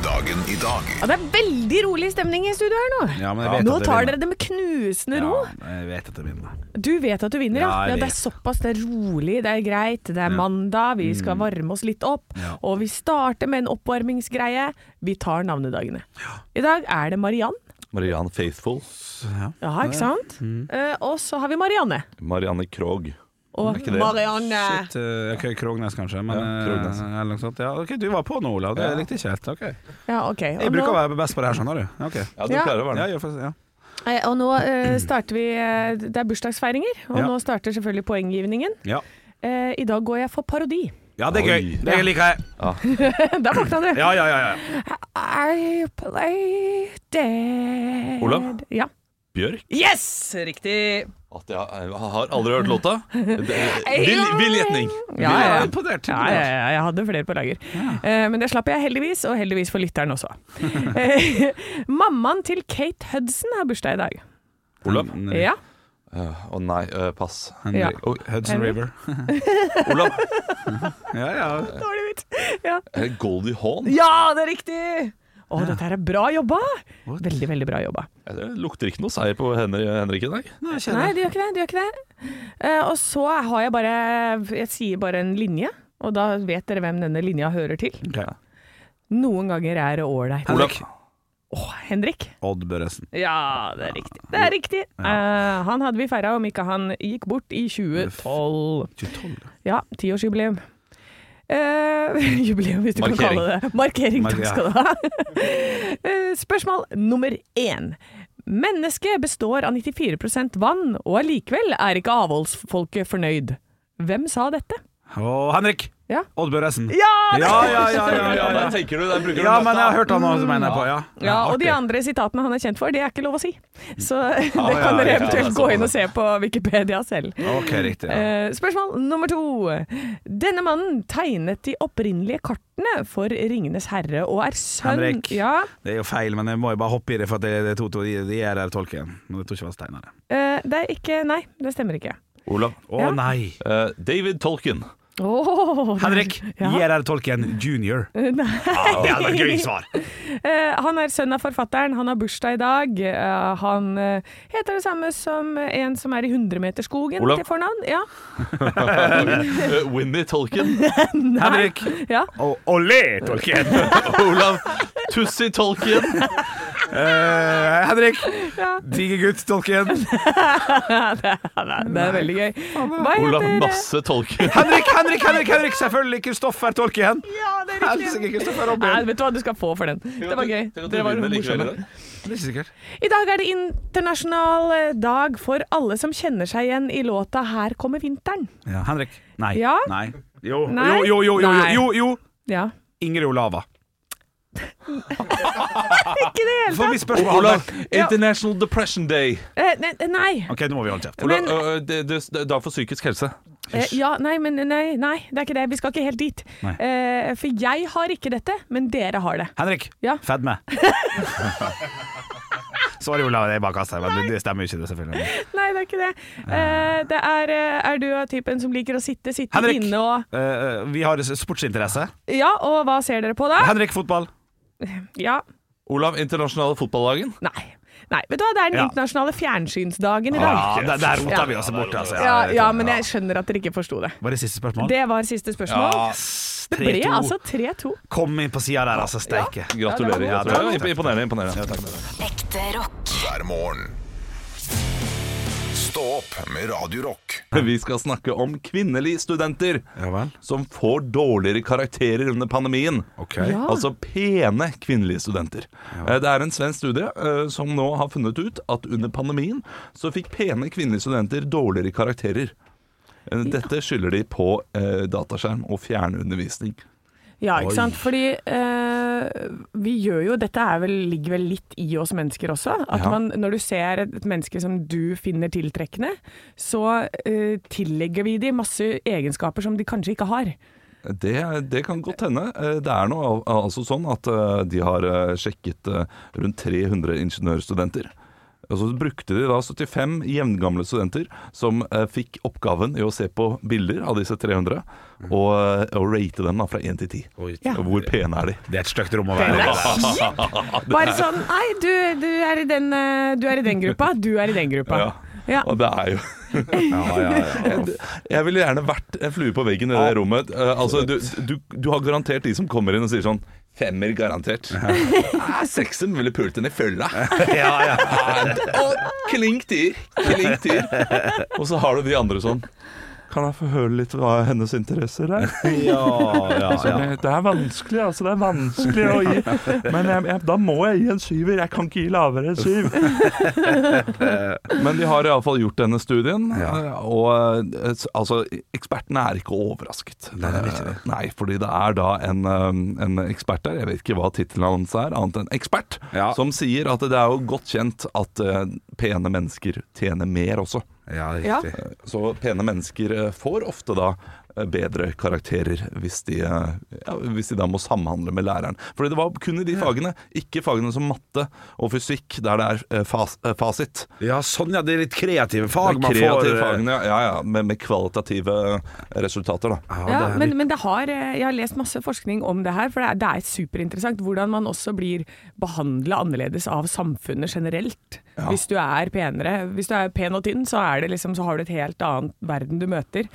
Dagen i dag
ja. Det er veldig rolig stemning i studio her nå.
Ja, men jeg vet
nå
at det
tar
vinner.
dere det med knusende ro.
Ja, jeg vet at det vinner.
Du vet at du vinner, ja.
Ja,
ja
jeg
det
vet.
er såpass. Det er rolig, det er greit. Det er mandag, vi skal varme oss litt opp.
Mm. Ja.
Og vi starter med en oppvarmingsgreie. Vi tar navnedagene. I dag er det Mariann.
Marianne Faithful.
Ja, ikke sant?
Mm.
Eh, og så har vi Marianne.
Marianne Krogh.
Og
ikke det.
Marianne!
Shit, eh, ok, Krognes kanskje, men
Ja,
eh,
Krognes.
eller noe sånt. Ja, ok, Du var på nå, Olav. Det
Ja.
likte jeg ikke helt. ok
Ja, ok. Og
Jeg
nå-
bruker å være best på det her, skjønner du. Ok.
Ja, du
Ja.
pleier å være
Ja,
det.
jeg får- ja.
Eh, Og nå eh, starter vi eh, Det er bursdagsfeiringer, og
Mm. Ja.
nå starter selvfølgelig poenggivningen.
Ja.
Eh, I dag går jeg for parodi.
ja, det er gøy.
Oi.
Det liker jeg.
Der våkna du!
Ja, ja, ja. ja.
I play dead
Olav?
Ja.
Bjørk?
Yes! Riktig.
At jeg, jeg har aldri hørt låta. Det er-
Ei,
Vill
ja.
vill gjetning.
Ja, ja, ja.
Imponert.
Ja, ja, ja, jeg hadde flere på lager. Eh, men det slapp jeg heldigvis, og heldigvis for lytteren også. Eh, Mammaen til Kate Hudson har bursdag i dag.
Olav?
Henry-
Ja.
Å nei, eh, pass.
Henry-
Ja.
Oi, Hudson
Henry.
River.
Olav.
Ja, ja.
Dårlig vits. Ja.
Er det Goldie Hawn?
ja, det er riktig! Å, dette her er bra jobba! Veldig, veldig bra jobba.
Ja, Det lukter ikke noe seier på Henri- Henrik i dag.
Nei, jeg
Nei,
kjenner.
det gjør ikke det. Det gjør ikke det. Eh, og så har jeg bare Jeg sier bare en linje, og da vet dere hvem denne linja hører til.
Ok.
Noen ganger er det ålreit. Å,
Olav.
Henrik.
Odd Børresen.
Ja, det er riktig. Det er riktig. Eh, han hadde vi feira om ikke han gikk bort i 2012.
22.
Ja, tiårsjubileum. Eh, jubileum, hvis du
Markering.
kan kalle det Markering. Takk
Markering.
skal du ha. Eh, spørsmål nummer én. Mennesket består av 94 vann, og allikevel er ikke avholdsfolket fornøyd. Hvem sa dette?
Og Henrik!
Ja.
Odd Børresen.
Ja!
Ja, ja, ja, ja, ja,
der
ja.
tenker du, der bruker du
ja,
masse-
men jeg har hørt han også, mener jeg på. Ja,
Ja, og de
artig.
andre sitatene han er kjent for, det er ikke lov å si. Så det
ja,
kan dere
ja,
eventuelt
ja,
gå
sånn.
inn og se på Wikipedia selv.
Ok, riktig. Ja.
Eh, spørsmål nummer to. Denne mannen tegnet de opprinnelige kartene for Ringenes herre og er sønn
Henrik.
Ja,
Det er jo feil, men jeg må jo bare hoppe i det, for at det, det to, to, de, de er der tolken. Men jeg tror ikke det var Steinar. Å
eh, det er ikke Nei, det stemmer ikke.
Olav.
Ja.
nei!
Eh, David Tolkien.
Åh,
Henrik!
Ja.
J.R.R. Tolkien jr. Ja, det hadde vært gøy svar.
Eh, han er sønn av forfatteren, han har bursdag i dag. Eh, han eh, heter det samme som en som er i Hundremeterskogen
Olav.
til fornavn. Ja.
Eh, Winnie Tolkien.
Henrik!
ja.
Og olé, Tolkien!
Olav. Tussi Tolkien.
Eh, Henrik!
Ja.
Digergutt Tolkien.
Nei, det er veldig gøy. Hva
Olav
heter eh,
Nasse Tolkien.
Henrik, Henrik, Henrik! Henrik Selvfølgelig Kristoffer Tolkien.
Ja, det er riktig.
Helsike, Kristoffer
Nei,
Robin.
vet du hva, du skal få for den. Det var gøy. Dere var morsomme.
Det er ikke sikkert.
I dag er det internasjonal eh, dag for alle som kjenner seg igjen i låta 'Her kommer vinteren'.
Ja, Henrik. Nei.
Ja.
Nei. Jo.
Nei.
Jo, jo, jo, jo,
Nei.
jo, jo.
Ja.
Ingrid Olava.
Ikke det hele
For
tatt!
mitt spørsmål
Olav.
Ja.
International Depression Day.
Eh, nei, nei.
OK, nå må vi holde kjeft.
Olav,
Men-
eh, det, det, det er da for psykisk helse.
Eh, ja, nei, men nei, nei, det er ikke det. Vi skal ikke helt dit.
Nei.
Eh, for jeg har ikke dette, men dere har det.
Henrik,
Ja.
fedme. Sorry, Olav, det er bare kastet, men det stemmer jo ikke. det selvfølgelig
Nei, det er ikke det. Eh, det er, eh, er du av typen som liker å sitte, sitte
Henrik!
inne og
Eh, vi har sportsinteresse.
Ja, og hva ser dere på da?
Henrik, fotball.
Ja.
Olav, internasjonale fotballdagen.
Nei. Nei. Vet du hva, det er den
Ja. Ah,
internasjonale fjernsynsdagen i
Ja,
dag.
der, der rota vi oss bort, altså.
Ja,
det-
ja, men jeg skjønner at dere ikke forsto det.
Var det siste spørsmål?
Det var siste spørsmål.
Det
ble altså 3-2.
Kom inn på sida der, altså. Steike.
Gratulerer.
Ja, det var godt.
Ja, imponerende. imponerende.
Ekte rock.
hver morgen. Stå opp med Radio Rock.
Vi skal snakke om kvinnelige studenter
Ja vel.
som får dårligere karakterer under pandemien.
Ok.
Ja.
Altså pene kvinnelige studenter. Eh, Det er en svensk studie eh, som nå har funnet ut at under pandemien så fikk pene kvinnelige studenter dårligere karakterer. Eh, Dette skylder de på eh, dataskjerm og fjernundervisning.
Ja,
Oi.
ikke sant. Fordi eh, vi gjør jo Dette er vel, ligger vel litt i oss mennesker også. At
Ja.
man, når du ser et, et menneske som du finner tiltrekkende, så eh, tillegger vi dem masse egenskaper som de kanskje ikke har.
Det, det kan godt hende. Eh, Det er noe, al- altså sånn at eh, de har eh, sjekket eh, rundt 300 ingeniørstudenter. Og så brukte de da 75 jevngamle studenter som eh, fikk oppgaven i å se på bilder av disse 300, og, eh, og rate dem da fra 1 til 10.
Oi.
Ja.
Hvor pene er de?
Det er et stygt rom å være i.
Bare sånn Nei, du, du, er i den, eh, du er i den gruppa, du er i den gruppa.
Ja.
Ja.
Og det er jo
Ja, ja, ja.
Jeg- Jeg ville gjerne vært en flue på veggen i det rommet. Eh, altså, du, du, du har garantert de som kommer inn og sier sånn Femmer garantert. Ah, Sekser ville pult henne i følga.
Ja, ja.
Og klink tier. Klink tier. Og så har du de andre sånn Kan jeg få høre litt hva hennes interesser er?
Ja, ja,
Som
ja.
jeg- Det er vanskelig, altså. Det er vanskelig å gi. Men jeg, jeg, da må jeg gi en syver. Jeg kan ikke gi lavere enn syv. Men de har iallfall gjort denne studien,
Ja.
og eh, s- altså, ekspertene er ikke overrasket.
Nei, det er ikke det.
Eh, Nei, fordi det er da en, eh, en ekspert der, jeg vet ikke hva tittelen hans er, annet enn ekspert,
Ja.
som sier at det er jo godt kjent at eh, pene mennesker tjener mer også.
ja
Ja.
riktig.
Så pene mennesker eh, får ofte da eh, bedre karakterer hvis de, eh, ja, hvis de da må samhandle med læreren. Fordi det var kun i de fagene, ikke fagene som matte og fysikk, der det er eh, fas, eh, fasit.
Ja, sånn ja, det er litt kreative
Det
fag
er
man får.
kreative
eh,
fagene, ja, ja, med, med kvalitative eh, resultater, da.
Ja,
Ja, det er
men,
litt-
men det har, eh, jeg har lest masse forskning om det her, for det er, det er superinteressant hvordan man også blir behandla annerledes av samfunnet generelt. Hvis du er penere, hvis du er pen og tynn, så, er det liksom, så har du et helt annet verden du møter.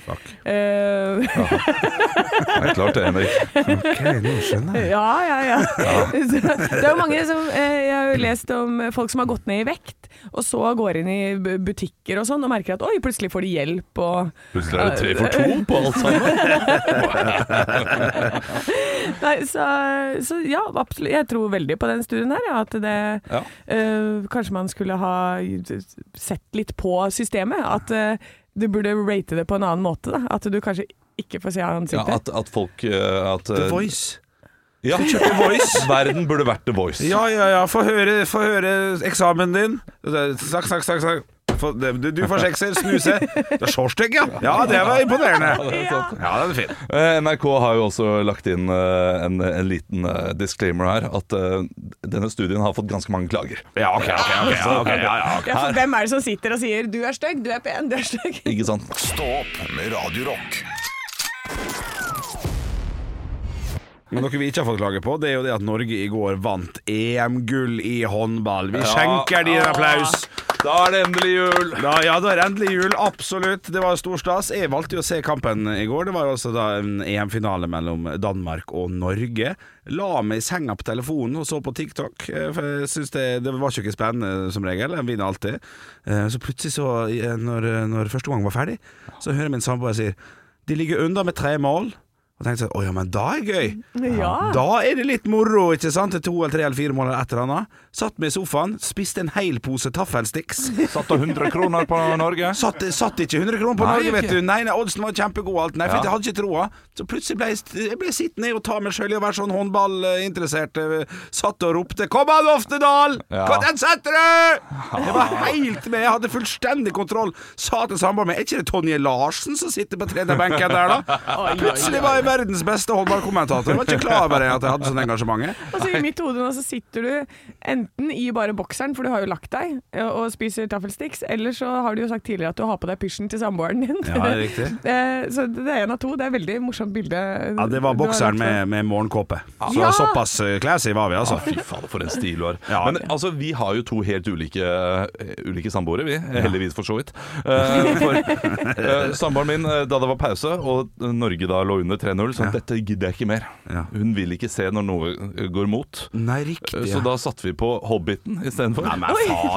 Eh,
Det er klart det, Henrik.
Ok, nå skjønner jeg.
ja, ja, ja. Så, det er jo mange som eh, Jeg har jo lest om folk som har gått ned i vekt, og så går inn i bu- butikker og sånn og merker at oi, plutselig får de hjelp og
Plutselig er det tre for to på alt sammen.
Nei, så, så ja, absolutt. Jeg tror veldig på den studien her. Ja, at det,
Ja.
eh, kanskje man skulle ha sett litt på systemet. At eh, du burde rate det på en annen måte. Da. At du kanskje ikke får se
Ja,
ansiktet.
at, at folk eh, at, eh,
The Voice.
Ja, Verden burde vært The Voice.
Ja, ja, ja. Få høre, få høre eksamen din. Snakk, snakk, snakk. snakk. Få- det- Du, du får sekser, snuse. Du er så stygg, ja. Ja, det var imponerende.
Ja.
Ja, den er fin.
Eh, NRK har jo også lagt inn eh, en, en liten eh, disclaimer her, at eh, denne studien har fått ganske mange klager.
Ja, ok, ok. ok, ja, ok, ja, ja, ok.
Ja, for hvem er det som sitter og sier 'du er stygg, du er pen, du er stygg'?
Ikke sant?
Stå opp med Radio Rock.
Men noe vi ikke har fått klage på, det er jo det at Norge i går vant EM-gull i håndball. Vi
Ja.
skjenker de en applaus.
Da er det endelig jul!
Da, ja, da er det endelig jul, absolutt. Det var jo stor stas. Jeg valgte jo å se kampen i går. Det var jo altså da en EM-finale mellom Danmark og Norge. La meg i senga på telefonen og så på TikTok. eh, For jeg synes det, det var ikke noe spennende som regel. En vinner alltid. Eh, Så plutselig, så, eh, når, når første gang var ferdig, så hører jeg min samboer sier De ligger under med tre mål. Og tenkte jeg, å ja, men da er det gøy.
Ja.
Da er det litt moro, ikke sant? Til to eller tre eller fire mål eller et eller annet. Satt meg i sofaen, spiste en hel pose taffelsticks.
Satt av 100 kroner på Norge.
Satt, satt ikke 100 kroner på
Nei,
Norge, vet
ikke.
du. Nei, nei, oddsen var kjempegod og alt. Nei, for
Ja.
jeg hadde ikke troa. Så plutselig ble jeg, jeg ble sittende og ta meg sjøl i å være sånn håndballinteressert. eh, Satt og ropte 'Kom an, Oftedal!
Ja.
Kom, den setter du!' Jeg var helt med. Jeg hadde fullstendig kontroll. Sa til samboeren min 'Er ikke det Tonje Larsen som sitter på trenerbenken der, da?' Plutselig var jeg verdens beste håndballkommentator. Jeg var ikke klar over det at jeg hadde sånn engasjement.
Altså, I mitt hode nå så sitter du enten i bare bokseren, for du har jo lagt deg, og spiser taffelsticks, eller så har du jo sagt tidligere at du har på deg pysjen til samboeren din.
Ja, det er riktig.
Eh, så det er en av to. Det er et veldig morsomt bilde.
Ja, det var
du har
bokseren
lagt
med, med morgenkåpe. Så
Ja.
såpass eh, classy var vi, altså.
Fy fader, for en stil du har.
Ja.
Men altså, vi har jo to helt ulike, eh, ulike samboere, vi. Heldigvis, for så vidt. Eh, for eh, samboeren min, eh, da det var pause, og Norge da lå under 3-0, så dette gidder jeg ikke mer.
Ja.
Hun vil ikke se når noe eh, går mot.
Nei,
Eh,
riktig.
Så da satte vi på Hobbiten istedenfor.
Nei, men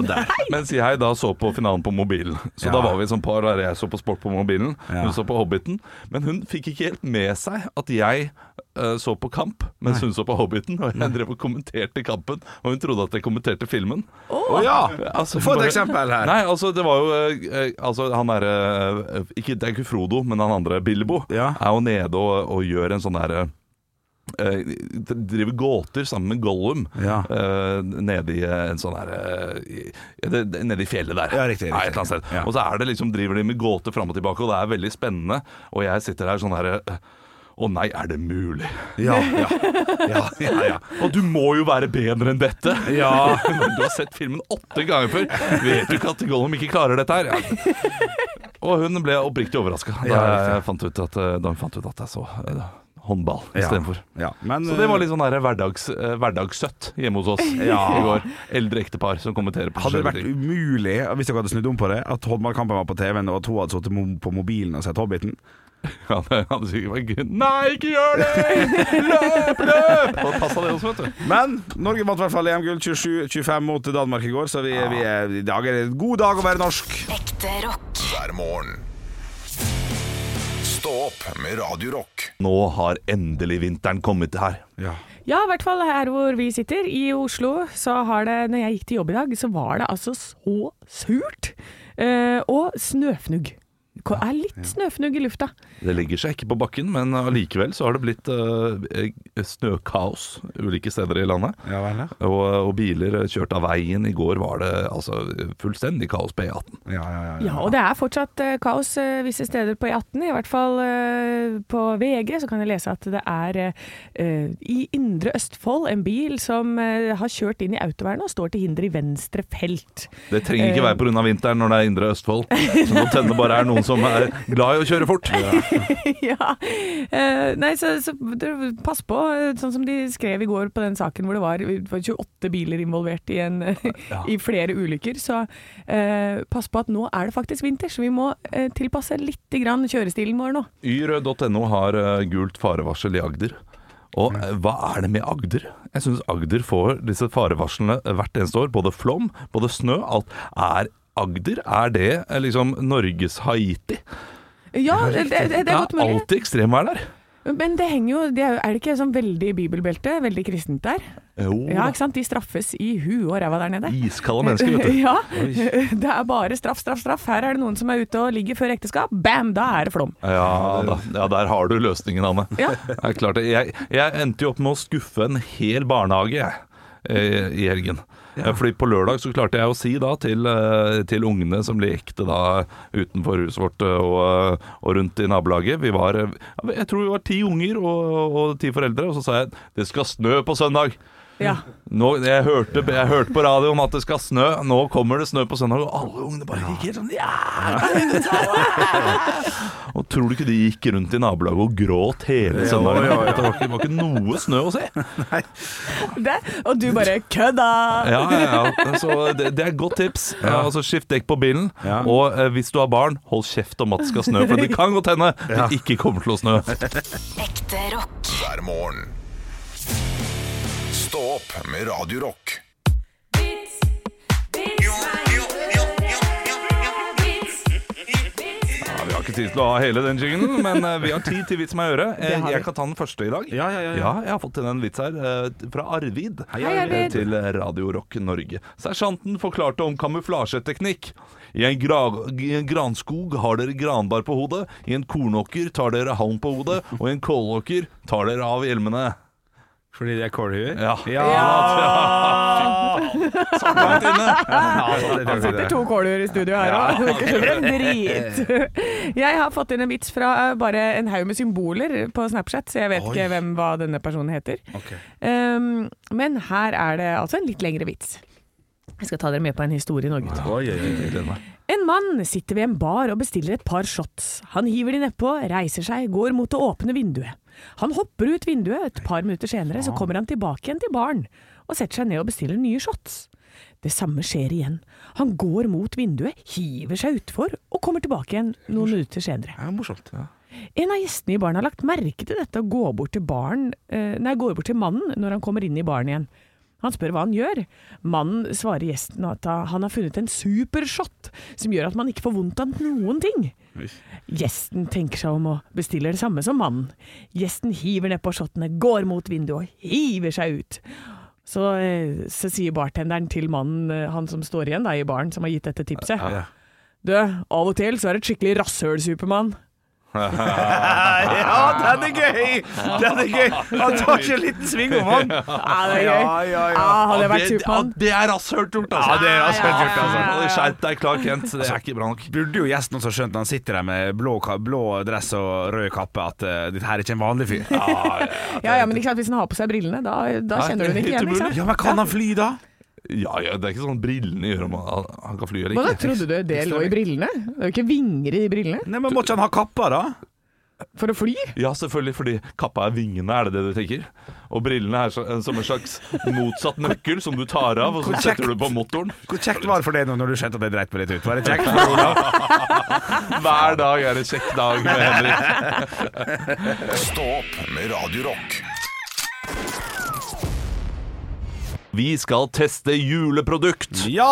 fader.
Mens jeg da så på finalen på mobilen. Så
Ja.
da var vi som par der jeg så på sport på mobilen,
Ja.
hun så på Hobbiten. Men hun fikk ikke helt med seg at jeg eh, så på kamp mens hun så på Hobbiten. Og jeg drev og kommenterte kampen, og hun trodde at jeg kommenterte filmen.
Å ja!
Altså,
Få et
bare-
eksempel her.
Nei, altså det var jo eh, eh, Altså han er eh, ikke, Det er ikke Frodo, men han andre Bilbo
Ja.
Er jo nede og, og gjør en sånn der eh, eh, driver gåter sammen med Gollum
Ja.
eh, nede i eh, en sånn her eh, i- det- det- Nede i fjellet der.
Ja, riktig, riktig.
et eller annet sted.
Ja.
Og så er det liksom, driver de med gåter fram og tilbake, og det er veldig spennende. Og jeg sitter her sånn her eh, Å nei, er det mulig?
Ja, ja,
Ja, ja, ja. Og du må jo være bedre enn dette!
Ja.
Når du har sett filmen åtte ganger før, vet du ikke at Gollum ikke klarer dette her? Ja. Og hun ble oppriktig overraska da
Ja,
jeg fant ut at, eh, da hun fant ut at jeg så eh, håndball istedenfor.
ja. Men,
Så det var litt sånn der hverdags, eh, hverdagssøtt hjemme hos oss i går. Eldre ektepar som kommenterer på
eh, Hadde det
forskjellige
vært
ting.
umulig, hvis dere hadde snudd om på det, at håndballkampen var på TV-en og to hadde sittet mo- på mobilen og sett Hobbiten?
Ja, det hadde sikkert vært gøy. Nei, ikke gjør det! Løp, løp! Og passa det også, vet du.
Men Norge vant i hvert fall EM-gull 27-25 mot Danmark i går, så vi, vi er, i dag er det en god dag å være norsk.
Ekte rock.
hver morgen. Stå opp med Radio Rock.
Nå har endelig vinteren kommet her.
Ja.
Ja, i hvert fall her hvor vi sitter, i Oslo, så har det Når jeg gikk til jobb i dag, så var det altså så surt. Eh, og snøfnugg. Det er litt snøfnugg i lufta.
Det legger seg ikke på bakken, men allikevel så har det blitt eh, snøkaos ulike steder i landet.
Ja vel, ja.
Og, eh, og biler kjørt av veien. I går var det altså fullstendig kaos på E18.
Ja, ja, ja,
Ja, og det er fortsatt eh, kaos eh, visse steder på E18. I hvert fall eh, på VG så kan jeg lese at det er eh, i indre Østfold en bil som eh, har kjørt inn i autovernet og står til hinder i venstre felt.
Det trenger ikke være pga. vinteren når det er indre Østfold. Så nå tenner bare er noen som er glad i å kjøre fort.
ja. Eh, nei, så, så dere pass på, eh, sånn som de skrev i går på den saken hvor det var det var 28 biler involvert i, en, i flere ulykker, så eh, pass på at nå er det faktisk vinter, så vi må eh, tilpasse litt grann kjørestilen vår nå.
Yr.no har eh, gult farevarsel i Agder. Og eh, hva er det med Agder? Jeg syns Agder får disse farevarslene eh, hvert eneste år. Både flom, både snø, alt. Er Agder er det eh, liksom Norges Haiti?
Ja, det, det, det er godt mulig.
alltid ekstremvær der.
Men det henger jo, det er, jo- er det ikke sånn veldig bibelbelte, veldig kristent der?
Jo,
Ja, ikke sant? De straffes i huet og ræva der nede.
iskalde mennesker, vet du.
Ja, det er bare straff, straff, straff. Her er det noen som er ute og ligger før ekteskap. Bam, da er det flom.
Ja, da, ja, der har du løsningen, Anne.
Ja.
Det er klart det. Jeg, jeg endte jo opp med å skuffe en hel barnehage jeg, eh, i helgen. Eh, Fordi på lørdag så klarte jeg å si da til, eh, til ungene som lekte da utenfor huset vårt eh, og, eh, og rundt i nabolaget Vi var, eh, ja, jeg tror vi var ti unger og, og ti foreldre, og så sa jeg 'det skal snø på søndag'.
Ja.
Nå, jeg, hørte, jeg hørte på radioen at det skal snø. Nå kommer det snø på søndag, og alle ungene bare gikk helt sånn ja! Og tror du ikke de gikk rundt i nabolaget og gråt hele søndagen?
jo, jo.
Det var ikke, det var ikke noe snø å se.
Det, og du bare kødda!
Ja, ja, ja. Så det, det er et godt tips. Ja, altså Skift dekk på bilen.
Ja.
Og eh, hvis du har barn, hold kjeft om at det skal snø, for det kan godt hende det ikke kommer til å snø.
Ekte rock.
hver morgen. Stå opp med Radio Rock.
Ja, vi har ikke tid til å ha hele den jinglen, men eh, vi har tid til vits meg øre.
Det har vi.
Eh, Jeg kan ta den første i dag.
Ja, ja, ja, ja.
jeg har fått inn en vits her eh, fra Arvid.
Eh, Hei, Arvid.
Eh, Til Radio Rock Norge. Sersjanten forklarte om kamuflasjeteknikk. I en, gra I en granskog har dere granbar på hodet, i en kornåker tar dere halm på hodet, og i en kålåker tar dere av hjelmene.
Fordi det er kålhuer?
Ja.
Ja!
Så langt inne.
Han sitter to kålhuer i studio her òg. Drit! Jeg har fått inn en vits fra eh, bare en haug med symboler på Snapchat, så jeg vet ikke hvem hva denne personen heter. Um, men her er det altså en litt lengre vits. Jeg skal ta dere med på en historie nå, gutter.
Oi, oi, oi.
Jeg gleder meg.
En mann sitter ved en bar og bestiller et par shots. Han hiver de nedpå, reiser seg, går mot det åpne vinduet. Han hopper ut vinduet, et par minutter senere
Ah.
så kommer han tilbake igjen til baren og setter seg ned og bestiller nye shots. Det samme skjer igjen. Han går mot vinduet, hiver seg utfor og kommer tilbake igjen noen minutter senere.
Ja, morsomt. Ja.
En av gjestene i baren har lagt merke til dette og går bort til, baren, eh, nei, går bort til mannen når han kommer inn i baren igjen. Han spør hva han gjør. Mannen svarer gjesten at han har funnet en supershot som gjør at man ikke får vondt av noen ting. Gjesten tenker seg om og bestiller det samme som mannen. Gjesten hiver nedpå shottene, går mot vinduet og hiver seg ut. Så, eh, så sier bartenderen til mannen, eh, han som står igjen da, i baren, som har gitt dette tipset.
ja.
Du, av og til så er det et skikkelig rasshøl, Supermann.
ja, den er gøy! Den er gøy. Han tar ikke en liten sving om han.
Ja, det er gøy.
Ja, ja, ja.
Ah, hadde jeg vært
det, ja,
Supermann
det er rasshølt gjort, altså.
Ja, det er rasshølt gjort,
altså. Ja, ja, ja.
Skjerp deg, Clark Kent. Det er ikke bra nok.
Burde jo gjesten også skjønt når han sitter der med blå, ka- blå dress og rød kappe, at uh, dette her er ikke en vanlig fyr.
Ja, ja, men ikke sant, hvis han har på seg brillene, da, da
Nei,
kjenner du den ikke
helt
igjen. ikke sant?
Ja, men kan han fly da?
Ja, ja, det er ikke sånn brillene gjør om han, han kan fly
Hva
eller
da,
ikke.
trodde du det lå i brillene? Det er jo ikke vinger i brillene
Nei, men Må ikke han ha kappa, da?
for å fly.
Ja, selvfølgelig, fordi kappa er vingene, er det det du tenker? Og brillene er så, en- som en slags motsatt nøkkel som du tar av, og så setter du på motoren.
Hvor kjekt var det for deg nå når du skjønte at jeg dreit meg litt ut? Var det kjekt for deg, Olav?
Hver dag er en kjekk dag med Henrik.
Stå opp med Radio Rock.
Vi skal teste juleprodukt.
Ja!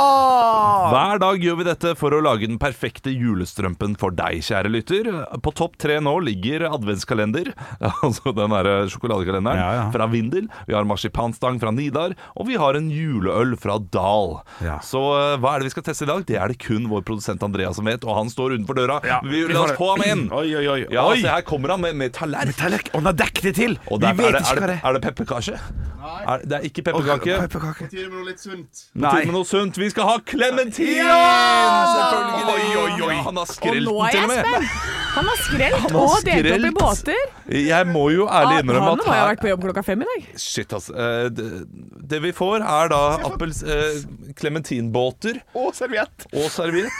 Hver dag gjør vi dette for å lage den perfekte julestrømpen for deg, kjære lytter. På topp tre nå ligger adventskalender, altså den derre sjokoladekalenderen,
Ja, ja.
fra Vindel. Vi har marsipanstang fra Nidar, og vi har en juleøl fra Dal.
Ja.
Så eh, hva er det vi skal teste i dag? Det er det kun vår produsent Andreas som vet, og han står utenfor døra.
Ja,
vi,
vi
la
får
oss
det.
få ham inn!
Oi, oi, oi.
Ja,
Oi.
se, her kommer han med, med tallerken.
Metallic, og han har dekket det til!
Og
Vi
der-
vet
er det,
ikke
er
hva
det,
det
er det pepperkasje? Er, det er ikke pepperkake.
Pepperkake.
Tid med noe litt sunt.
På tide
Nei.
med noe sunt. Vi skal ha klementin! Selvfølgelig!
Oi, oi, oi.
Ja, han har
Og
skrelt
nå
den
er
til og
jeg
med.
spent! Han har skrelt
Han har
og delt opp i
skrelt.
båter.
Jeg må jo
Ah,
ærlig
Han må
innrømme
jo
at
ha
her
vært på jobb klokka fem i dag.
Shit, ass. Eh, det- Det vi får, er da appels... eh, Klementinbåter
Og serviett.
og serviett.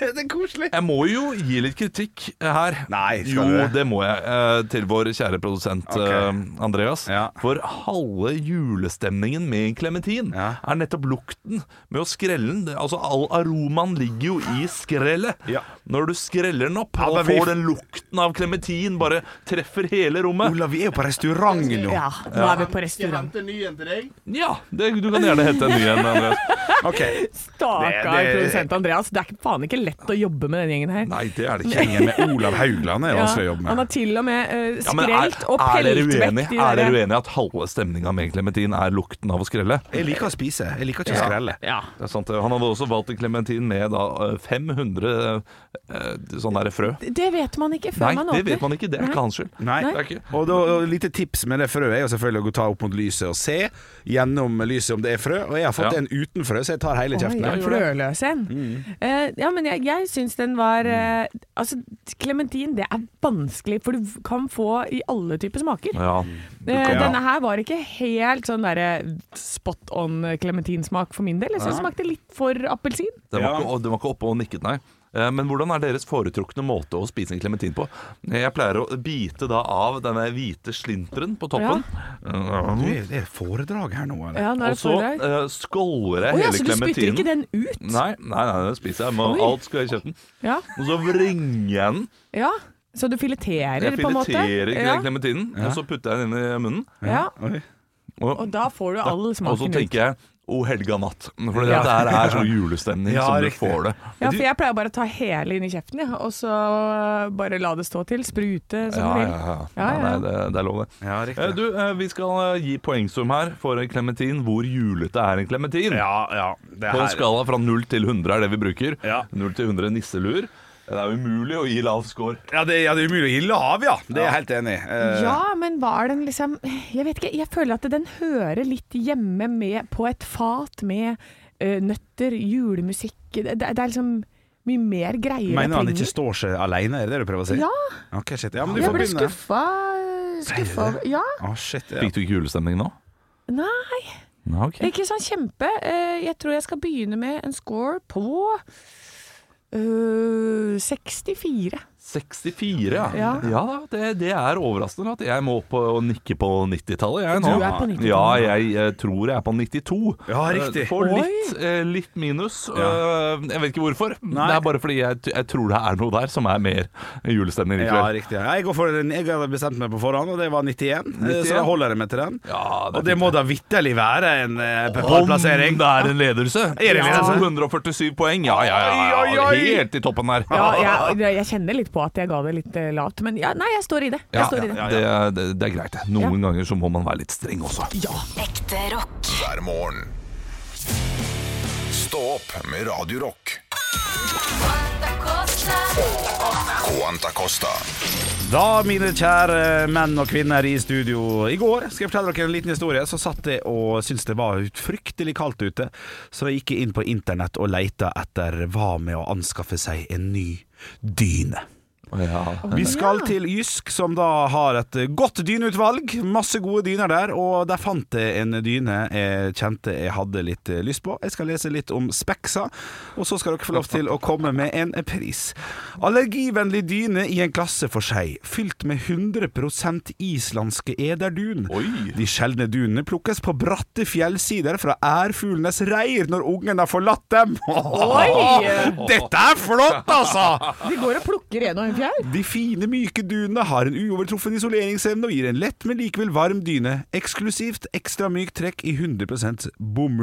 Det er koselig.
Jeg må jo gi litt kritikk eh, her.
Nei, skal
jo,
du det?
det må jeg. eh, Til vår kjære produsent
Ok.
eh, Andreas.
Ja.
For halve julestemningen med en klementin
Ja.
er nettopp lukten med å skrelle den. Det- Altså, all aromaen ligger jo i skrellet.
Ja.
Når du skreller den opp
Ja,
og
men vi-
får den lukten av klementin, bare treffer hele rommet.
Olav, vi er jo på restaurant nå.
Ja, nå er vi på
Skal jeg
restaurant.
hente en ny en til deg?
Ja, det, du kan gjerne hente en ny en, Andreas.
Ok,
Stakkar
Det- det-
produsent Andreas. Det er ikke- faen ikke lett å jobbe med den gjengen her.
Nei, det er det ikke.
Gjengen med Olav Haugland er
Ja,
vanskelig å jobbe
han
med.
har til og med eh,
Ja, men er,
skrelt og
er dere
pelt vekk
uenige
de
Er dere
der-
uenige at halve stemninga med klementin er lukten av å skrelle?
Jeg liker å spise, jeg liker ikke å skrelle.
Ja.
Det er sant, det. Han hadde også valgt en klementin med da, eh, 500 eh, sånne der frø.
Det vet man ikke før
Nei,
man åpner.
det vet man ikke. Det er ikke hans skyld.
Nei.
Det er ikke.
Og da, og lite tips med det frøet er jo selvfølgelig å ta opp mot lyset og se gjennom lyset om det er frø. Og jeg har fått
Ja.
en uten frø, så jeg tar hele kjeften.
Oi,
her.
frøløs en.
Mm.
Eh, ja, men jeg, jeg syns den var eh, Altså, klementin det er vanskelig, for du kan få i alle typer smaker.
Ja.
Eh,
ja.
Denne her var ikke helt sånn derre spot on klementinsmak for min del. Jeg syns den smakte litt for appelsin.
Den var,
Ja.
ikke, den var ikke oppe og nikket, nei. Eh, Men hvordan er deres foretrukne måte å spise en klementin på? Jeg pleier å bite da av denne hvite slinteren på toppen. Eh,
Du, Det er foredrag her nå, eller?
Ja, nå er
Og
det
så
foredrag.
eh, skåler jeg
Å ja,
hele
så du spytter
klementinen.
ikke den ut?
Nei, nei, nei, den spiser jeg. Med
Oi.
alt skal jeg i kjeften.
Ja.
Og så vringer jeg den.
ja. Så du fileterer,
Jeg
på en måte?
fileterer ikke
ja.
den klementinen, og så putter jeg den inn i munnen.
Ja.
Oi.
Og,
Og da får du all
og så
smaken ut.
tenker jeg 'O helga natt', for det
Ja.
der er sånn julestemning
Ja,
som du
riktig.
får det.
Ja, for jeg pleier bare å ta hele inn i kjeften, ja. og så øh, bare la det stå til. Sprute sånn som
Ja, ja,
du vil.
ja.
Ja, ja.
Nei, det, det er lov, det.
Ja,
Eh,
riktig.
Du, eh, vi skal eh, gi poengsum her for en klementin. Hvor julete er en klementin?
Ja, ja. Det
På en
her.
skala fra 0 til 100 er det vi bruker.
Ja.
0 til 100 nisselur. Det er umulig å gi lav score.
Ja, det, ja, det er umulig å gi lav, ja. Det er jeg helt enig i. Eh,
Ja, men var den liksom Jeg vet ikke, jeg føler at den hører litt hjemme med, på et fat med ø, nøtter, julemusikk det, det det er liksom mye mer greier. jeg
Mener han
trenger.
ikke står seg alene, er det det du prøver å si?
Ja,
Ok, shit. Ja, men du
jeg
får
ble
begynne.
skuffa. Skuffa over Ja,
Å, shit. Ja.
Fikk du ikke julestemning nå?
nei,
Ja, ok.
ikke sånn kjempe. Eh, Jeg tror jeg skal begynne med en score på øh, ø, 64.
64, ja. ja.
Ja.
det, det er overraskende at jeg må opp og og nikke på 90-tallet. jeg nå.
Du er på 90-tallet.
Ja, jeg eh, tror jeg er på 92.
Ja, riktig.
Eh, Får
Oi.
litt, eh, litt minus.
Ja.
Eh, Jeg vet ikke hvorfor.
Nei.
Det er bare fordi jeg, jeg tror det er noe der som er mer julestemning
Ja,
likevel.
riktig. Jeg, går for den, jeg hadde bestemt meg på forhånd, og det var 91,
91.
eh, så da holder jeg meg til den.
Ja, det er
og det
fint,
må da vitterlig være en eh,
Om
pallplassering.
det er en ledelse.
Er det en ledelse?
247 poeng. Ja, ja, ja.
altså. Oi,
ja.
oi, oi.
Helt i toppen der.
Ja, jeg, jeg kjenner litt på at jeg ga det litt eh, lavt, men ja, nei, jeg står i det. Jeg
Ja,
står i det.
ja, det, er- det, det er greit. det. Noen ganger så må man være litt streng også.
Ekte rock.
hver morgen. Stå opp med Radio Rock.
Dakota.
K-anlegg Santa Costa.
Da, mine kjære menn og kvinner i studio. I går skal jeg fortelle dere en liten historie. Så satt jeg og syntes det var fryktelig kaldt ute, så jeg gikk inn på internett og leita etter hva med å anskaffe seg en ny dyne. Vi skal til Jysk, som da har et godt dyneutvalg. Masse gode dyner der, og der fant jeg en dyne jeg kjente jeg hadde litt lyst på. Jeg skal lese litt om Spexa, og så skal dere få lov til å komme med en pris. Allergivennlig dyne i en klasse for seg, fylt med 100 islandske ederdun.
Oi.
De sjeldne dunene plukkes på bratte fjellsider fra ærfuglenes reir når ungen har forlatt dem.
Oi!
Dette er flott, altså!
De går og plukker en og en fjær.
De fine, myke dynene har en uovertruffen isoleringsevne og gir en lett, men likevel varm dyne. Eksklusivt ekstra mykt trekk i 100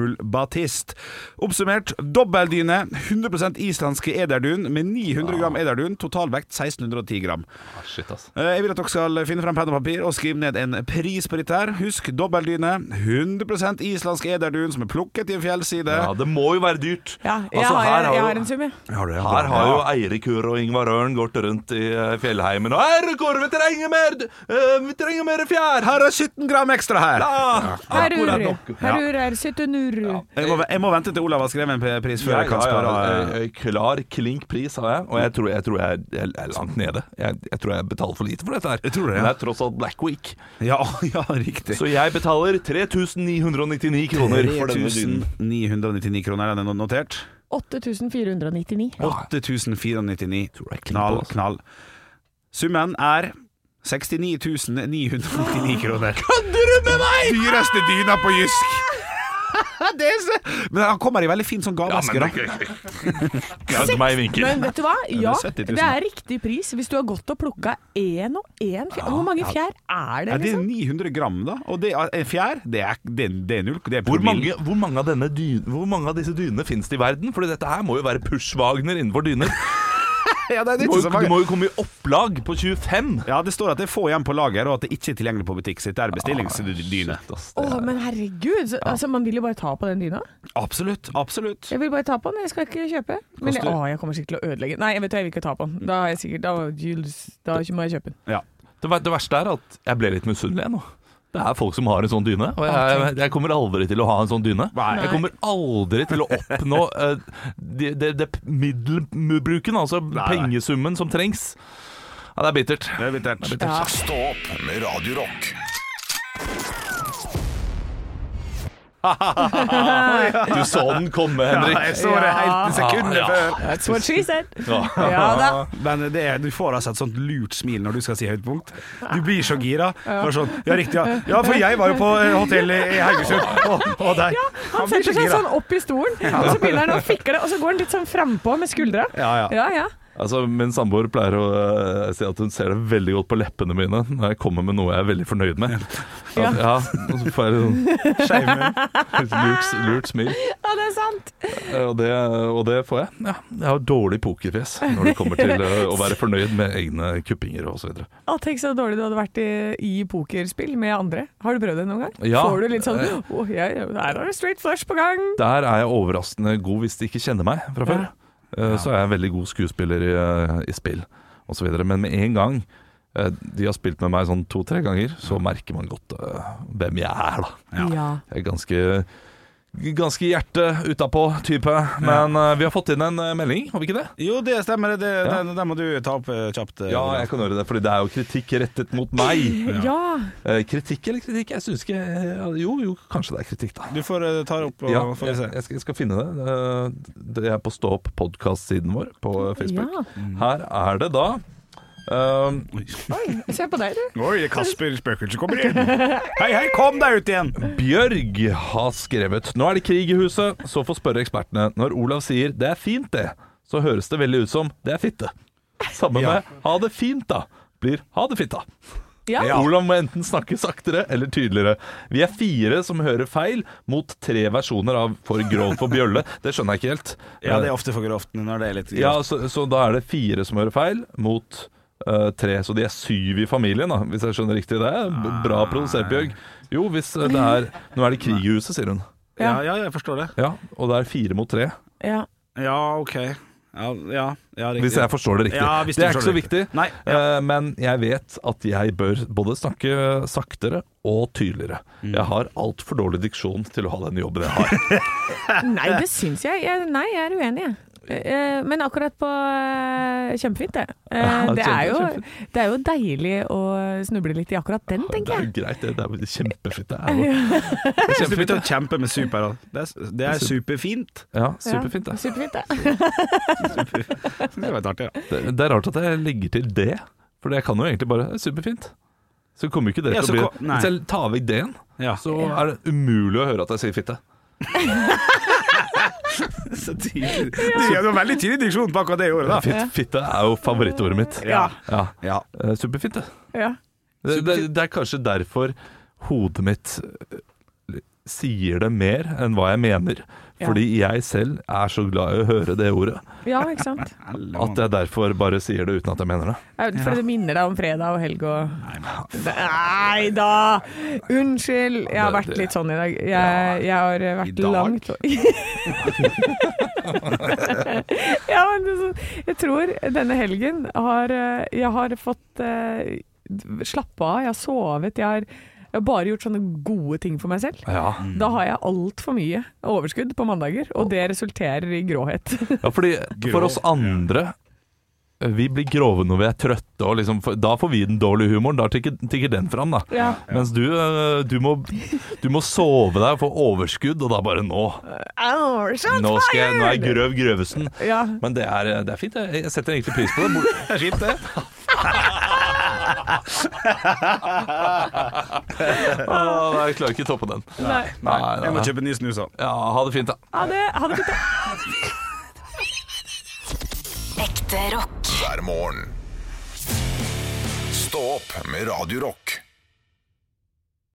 bomullbatist. Oppsummert dobbeldyne, 100 islandske ederdun med 900 gram ederdun, totalvekt 1610 gram.
Ah, Shit, ass.
Eh, Jeg vil at dere skal finne fram penn og papir og skrive ned en pris på dette. her. Husk dobbeldyne, 100 islandsk ederdun som er plukket i en fjellside.
Ja, det må jo være dyrt.
Ja, jeg,
Altså,
har,
her
jeg,
har jo-
har en sum, jeg.
Har du-
Her har jo Eirik Hur og Ingvar Ørn gått rundt i eh, fjellheimen og Her, Kåre, vi trenger mer! eh, vi trenger mer fjær! Her!
Her er 17 gram ekstra her!
Ah,
Herr
akkurat
Uru,
nok.
herr Uru, herr Syttenuru.
Jeg må, jeg må vente til Olav har skrevet en pris før jeg kan spørre. eh,
eh, Klar, klink pris har jeg, og jeg tror jeg, tror jeg, er- jeg er langt nede. Jeg, jeg tror jeg betaler for lite for dette her.
Jeg tror det,
Men
ja.
det er tross alt Black Week.
Ja, ja riktig.
Så jeg betaler 3999 kroner for denne dynen.
3999 kroner er den er notert.
8499.
8499.
Tror jeg klipper,
Knall,
altså.
knall. Summen er 69.999 kroner.
Kødder du med meg?!
Dyreste dyna på Jysk! Det er så... Men han kommer i veldig fin sånn
Ja,
gaveeske.
men
da.
Kødd meg i vinkel.
Men vet du hva? Ja,
70 000.
det er riktig pris hvis du har gått og plukka én og én fjær. Hvor mange fjær er
Ja,
det,
det er
liksom?
900 gram, da. Og det er en fjær. Det er, det er, det er null. Det er
Hvor
promille.
mange, hvor, mange av denne dyn- hvor mange av disse dynene finnes det i verden? Fordi dette her må jo være Pushwagner innenfor dyner.
Ja, det er
Du
ikke
må,
så
jo,
mange.
du må jo komme i opplag på 25.
Ja, det står at det er få igjen på lager, og at det ikke er tilgjengelig på butikk. Sitt er bestillingsdyne.
Shit, ass,
Å,
det er-
men herregud. så- Altså, man vil jo bare ta på den dyna.
Ah, Absolutt. Absolutt.
Jeg vil bare ta på den, jeg skal ikke kjøpe. Men jeg, å, jeg kommer sikkert til å ødelegge den. Nei, jeg vet du, jeg vil ikke ta på den. Da, er jeg sikkert, da, da må jeg kjøpe den.
Ja.
Det, ver- det verste er at jeg ble litt misunnelig jeg nå. Det er folk som har en sånn dyne, og jeg, jeg kommer aldri til å ha en sånn dyne.
Nei.
Jeg kommer aldri til å oppnå eh, det, det, det middelbruken, altså
Nei, nei.
pengesummen som trengs. Ja, det er bittert.
Det er bittert.
Stå opp med Radio Rock.
Du så den komme,
Ja,
Henrik.
jeg så det helt en sekund
Ja.
før.
That's what she said.
Ja.
Ja da.
Men det er, du får altså et sånt lurt smil når du skal si høydepunkt. Du blir så gira. Bare sånn, ja, riktig, ja. ja, for jeg var jo på eh, hotell i i Haugesund. Og, og der.
Han setter seg sånn opp i stolen, og så begynner han å fikle, og så går han litt sånn frampå med skuldra.
Ja, ja.
ja, ja.
Altså, min samboer pleier å eh, si at hun ser det veldig godt på leppene mine når jeg kommer med noe jeg er veldig fornøyd med. Ja, ja Og så får jeg sånn
Skeive.
et lurt, lurt smil,
Ja, det er sant.
Eh, og det, og det får jeg. Ja, jeg har dårlig pokerfjes når det kommer til eh, å være fornøyd med egne kuppinger og så videre.
Å, tenk så dårlig du hadde vært i, i pokerspill med andre. Har du prøvd det noen gang?
Ja.
Får du litt sånn
Eh.
Å, jeg, her er det straight flush på gang.
Der er jeg overraskende god hvis de ikke kjenner meg fra før. Eh, Så er jeg en veldig god skuespiller i, eh, i spill og så videre. Men med en gang eh, de har spilt med meg sånn to-tre ganger, så merker man godt eh, hvem jeg er, da.
Ja.
Jeg er ganske Ganske hjerte utapå type Men eh, vi har fått inn en eh, melding, har vi ikke det?
Jo, det stemmer. Det, det, den- den må du ta opp eh, kjapt. eh,
Ja,
Olav.
jeg kan gjøre det, fordi det er jo kritikk rettet mot meg
ja.
Eh, Kritikk eller kritikk? Jeg synes ikke eh, Jo, jo, kanskje det er kritikk da
Du får eh, ta det opp, og
ja,
får vi
jeg,
se.
jeg, skal, jeg skal finne det Eh, Det er på Stå opp podcast-siden vår På Facebook
Ja.
Her er det da ehm,
Oi, se på deg, du.
Oi, Kasper Spøkelsen kommer inn. Hei, hei, kom deg ut igjen!
Bjørg har skrevet Nå er det krig i huset, så får spørre ekspertene Når Olav sier 'det er fint det', så høres det veldig ut som 'det er fitte'. Samme
Ja.
med 'ha det fint da' blir 'ha det fitta'.
Ja.
Olav må enten snakke saktere eller tydeligere. Vi er fire som hører feil, mot tre versjoner av 'for grov for bjølle'. Det skjønner jeg ikke helt.
Ja, det er ofte for grovt når det er litt
Eh, Ja, så, så da er det fire som hører feil, mot eh, tre. Så de er syv i familien, da, hvis jeg skjønner riktig. Det er b- bra produsert, Bjørg. Jo, hvis eh, det er Nå er det krig i huset, sier hun.
Ja, ja, jeg forstår det.
Ja, og det er fire mot tre.
ja.
Ja, OK. Ja, ja, ja riktig.
Hvis jeg forstår det riktig.
Ja, hvis du
det er
forstår
ikke så
det
viktig,
riktig. Nei,
eh, men jeg vet at jeg bør både snakke saktere og tydeligere.
Mm.
Jeg har altfor dårlig diksjon til å ha den jobben jeg har.
Nei, det syns jeg. jeg. Nei, jeg er uenig, jeg. Eh, Men akkurat på eh, Kjempefint, det. Eh,
Ja,
Det er jo,
kjempe-
det er jo deilig å snuble litt i akkurat den,
Det
tenker
er
jeg.
jo greit, det. Det er jo kjempefint. Det er jo det er
Hvis du
kjempefint.
begynte å kjempe med super, da. det er, det er superfint.
Ja, superfint.
Ja,
Det.
superfint, det.
Det var litt artig, da.
Det, det er rart at jeg legger til det, for jeg kan jo egentlig bare Superfint. Så kommer jo ikke det
Ja,
til å
så
bli
kom- nei.
Hvis jeg tar vekk D-en,
Ja.
så
Ja.
er det umulig å høre at jeg sier fitte.
Så tydelig. Det var veldig tydelig diksjon på akkurat det jeg gjorde, da.
Fitt, fitte er jo favorittordet mitt.
Ja.
Ja.
Ja.
Eh, Superfint, det.
Ja.
Det, det, det er kanskje derfor hodet mitt eh, sier det mer enn hva jeg mener.
Ja.
Fordi jeg selv er så glad i å høre det ordet
ja, ikke sant.
at jeg derfor bare sier det uten at jeg mener det.
Ja, For det minner deg om fredag og helg og Nei da! Unnskyld. Jeg har
Det-
vært litt sånn i dag. Jeg, jeg har
I
vært
dag?
langt Ja, men det er sånn- jeg tror denne helgen har eh, Jeg har fått eh, slappe av, jeg har sovet, jeg har jeg har bare gjort sånne gode ting for meg selv. Mm.
Ja,
Da har jeg altfor mye overskudd på mandager, og det resulterer i gråhet.
ja fordi for oss andre eh, vi blir grove når vi er trøtte, og liksom, for- da får vi den dårlige humoren. Da tikker, tikker den fram, da.
Ja.
Mens du, eh, du, må, du må sove deg og få overskudd, og da bare nå. Nå, skal jeg, nå er jeg Grøv Grøvesen.
Ja.
Men det er, det er fint. Jeg jeg setter egentlig pris på det. Bor-
Det er fint, det.
Åh, nei, jeg klarer ikke å toppe den.
Nei.
Nei,
Jeg må
nei.
kjøpe ny snus òg.
Ja, ha det fint, da.
Ha det. Ha det godt.
Ekte rock.
hver morgen. Stå opp med Radio Rock.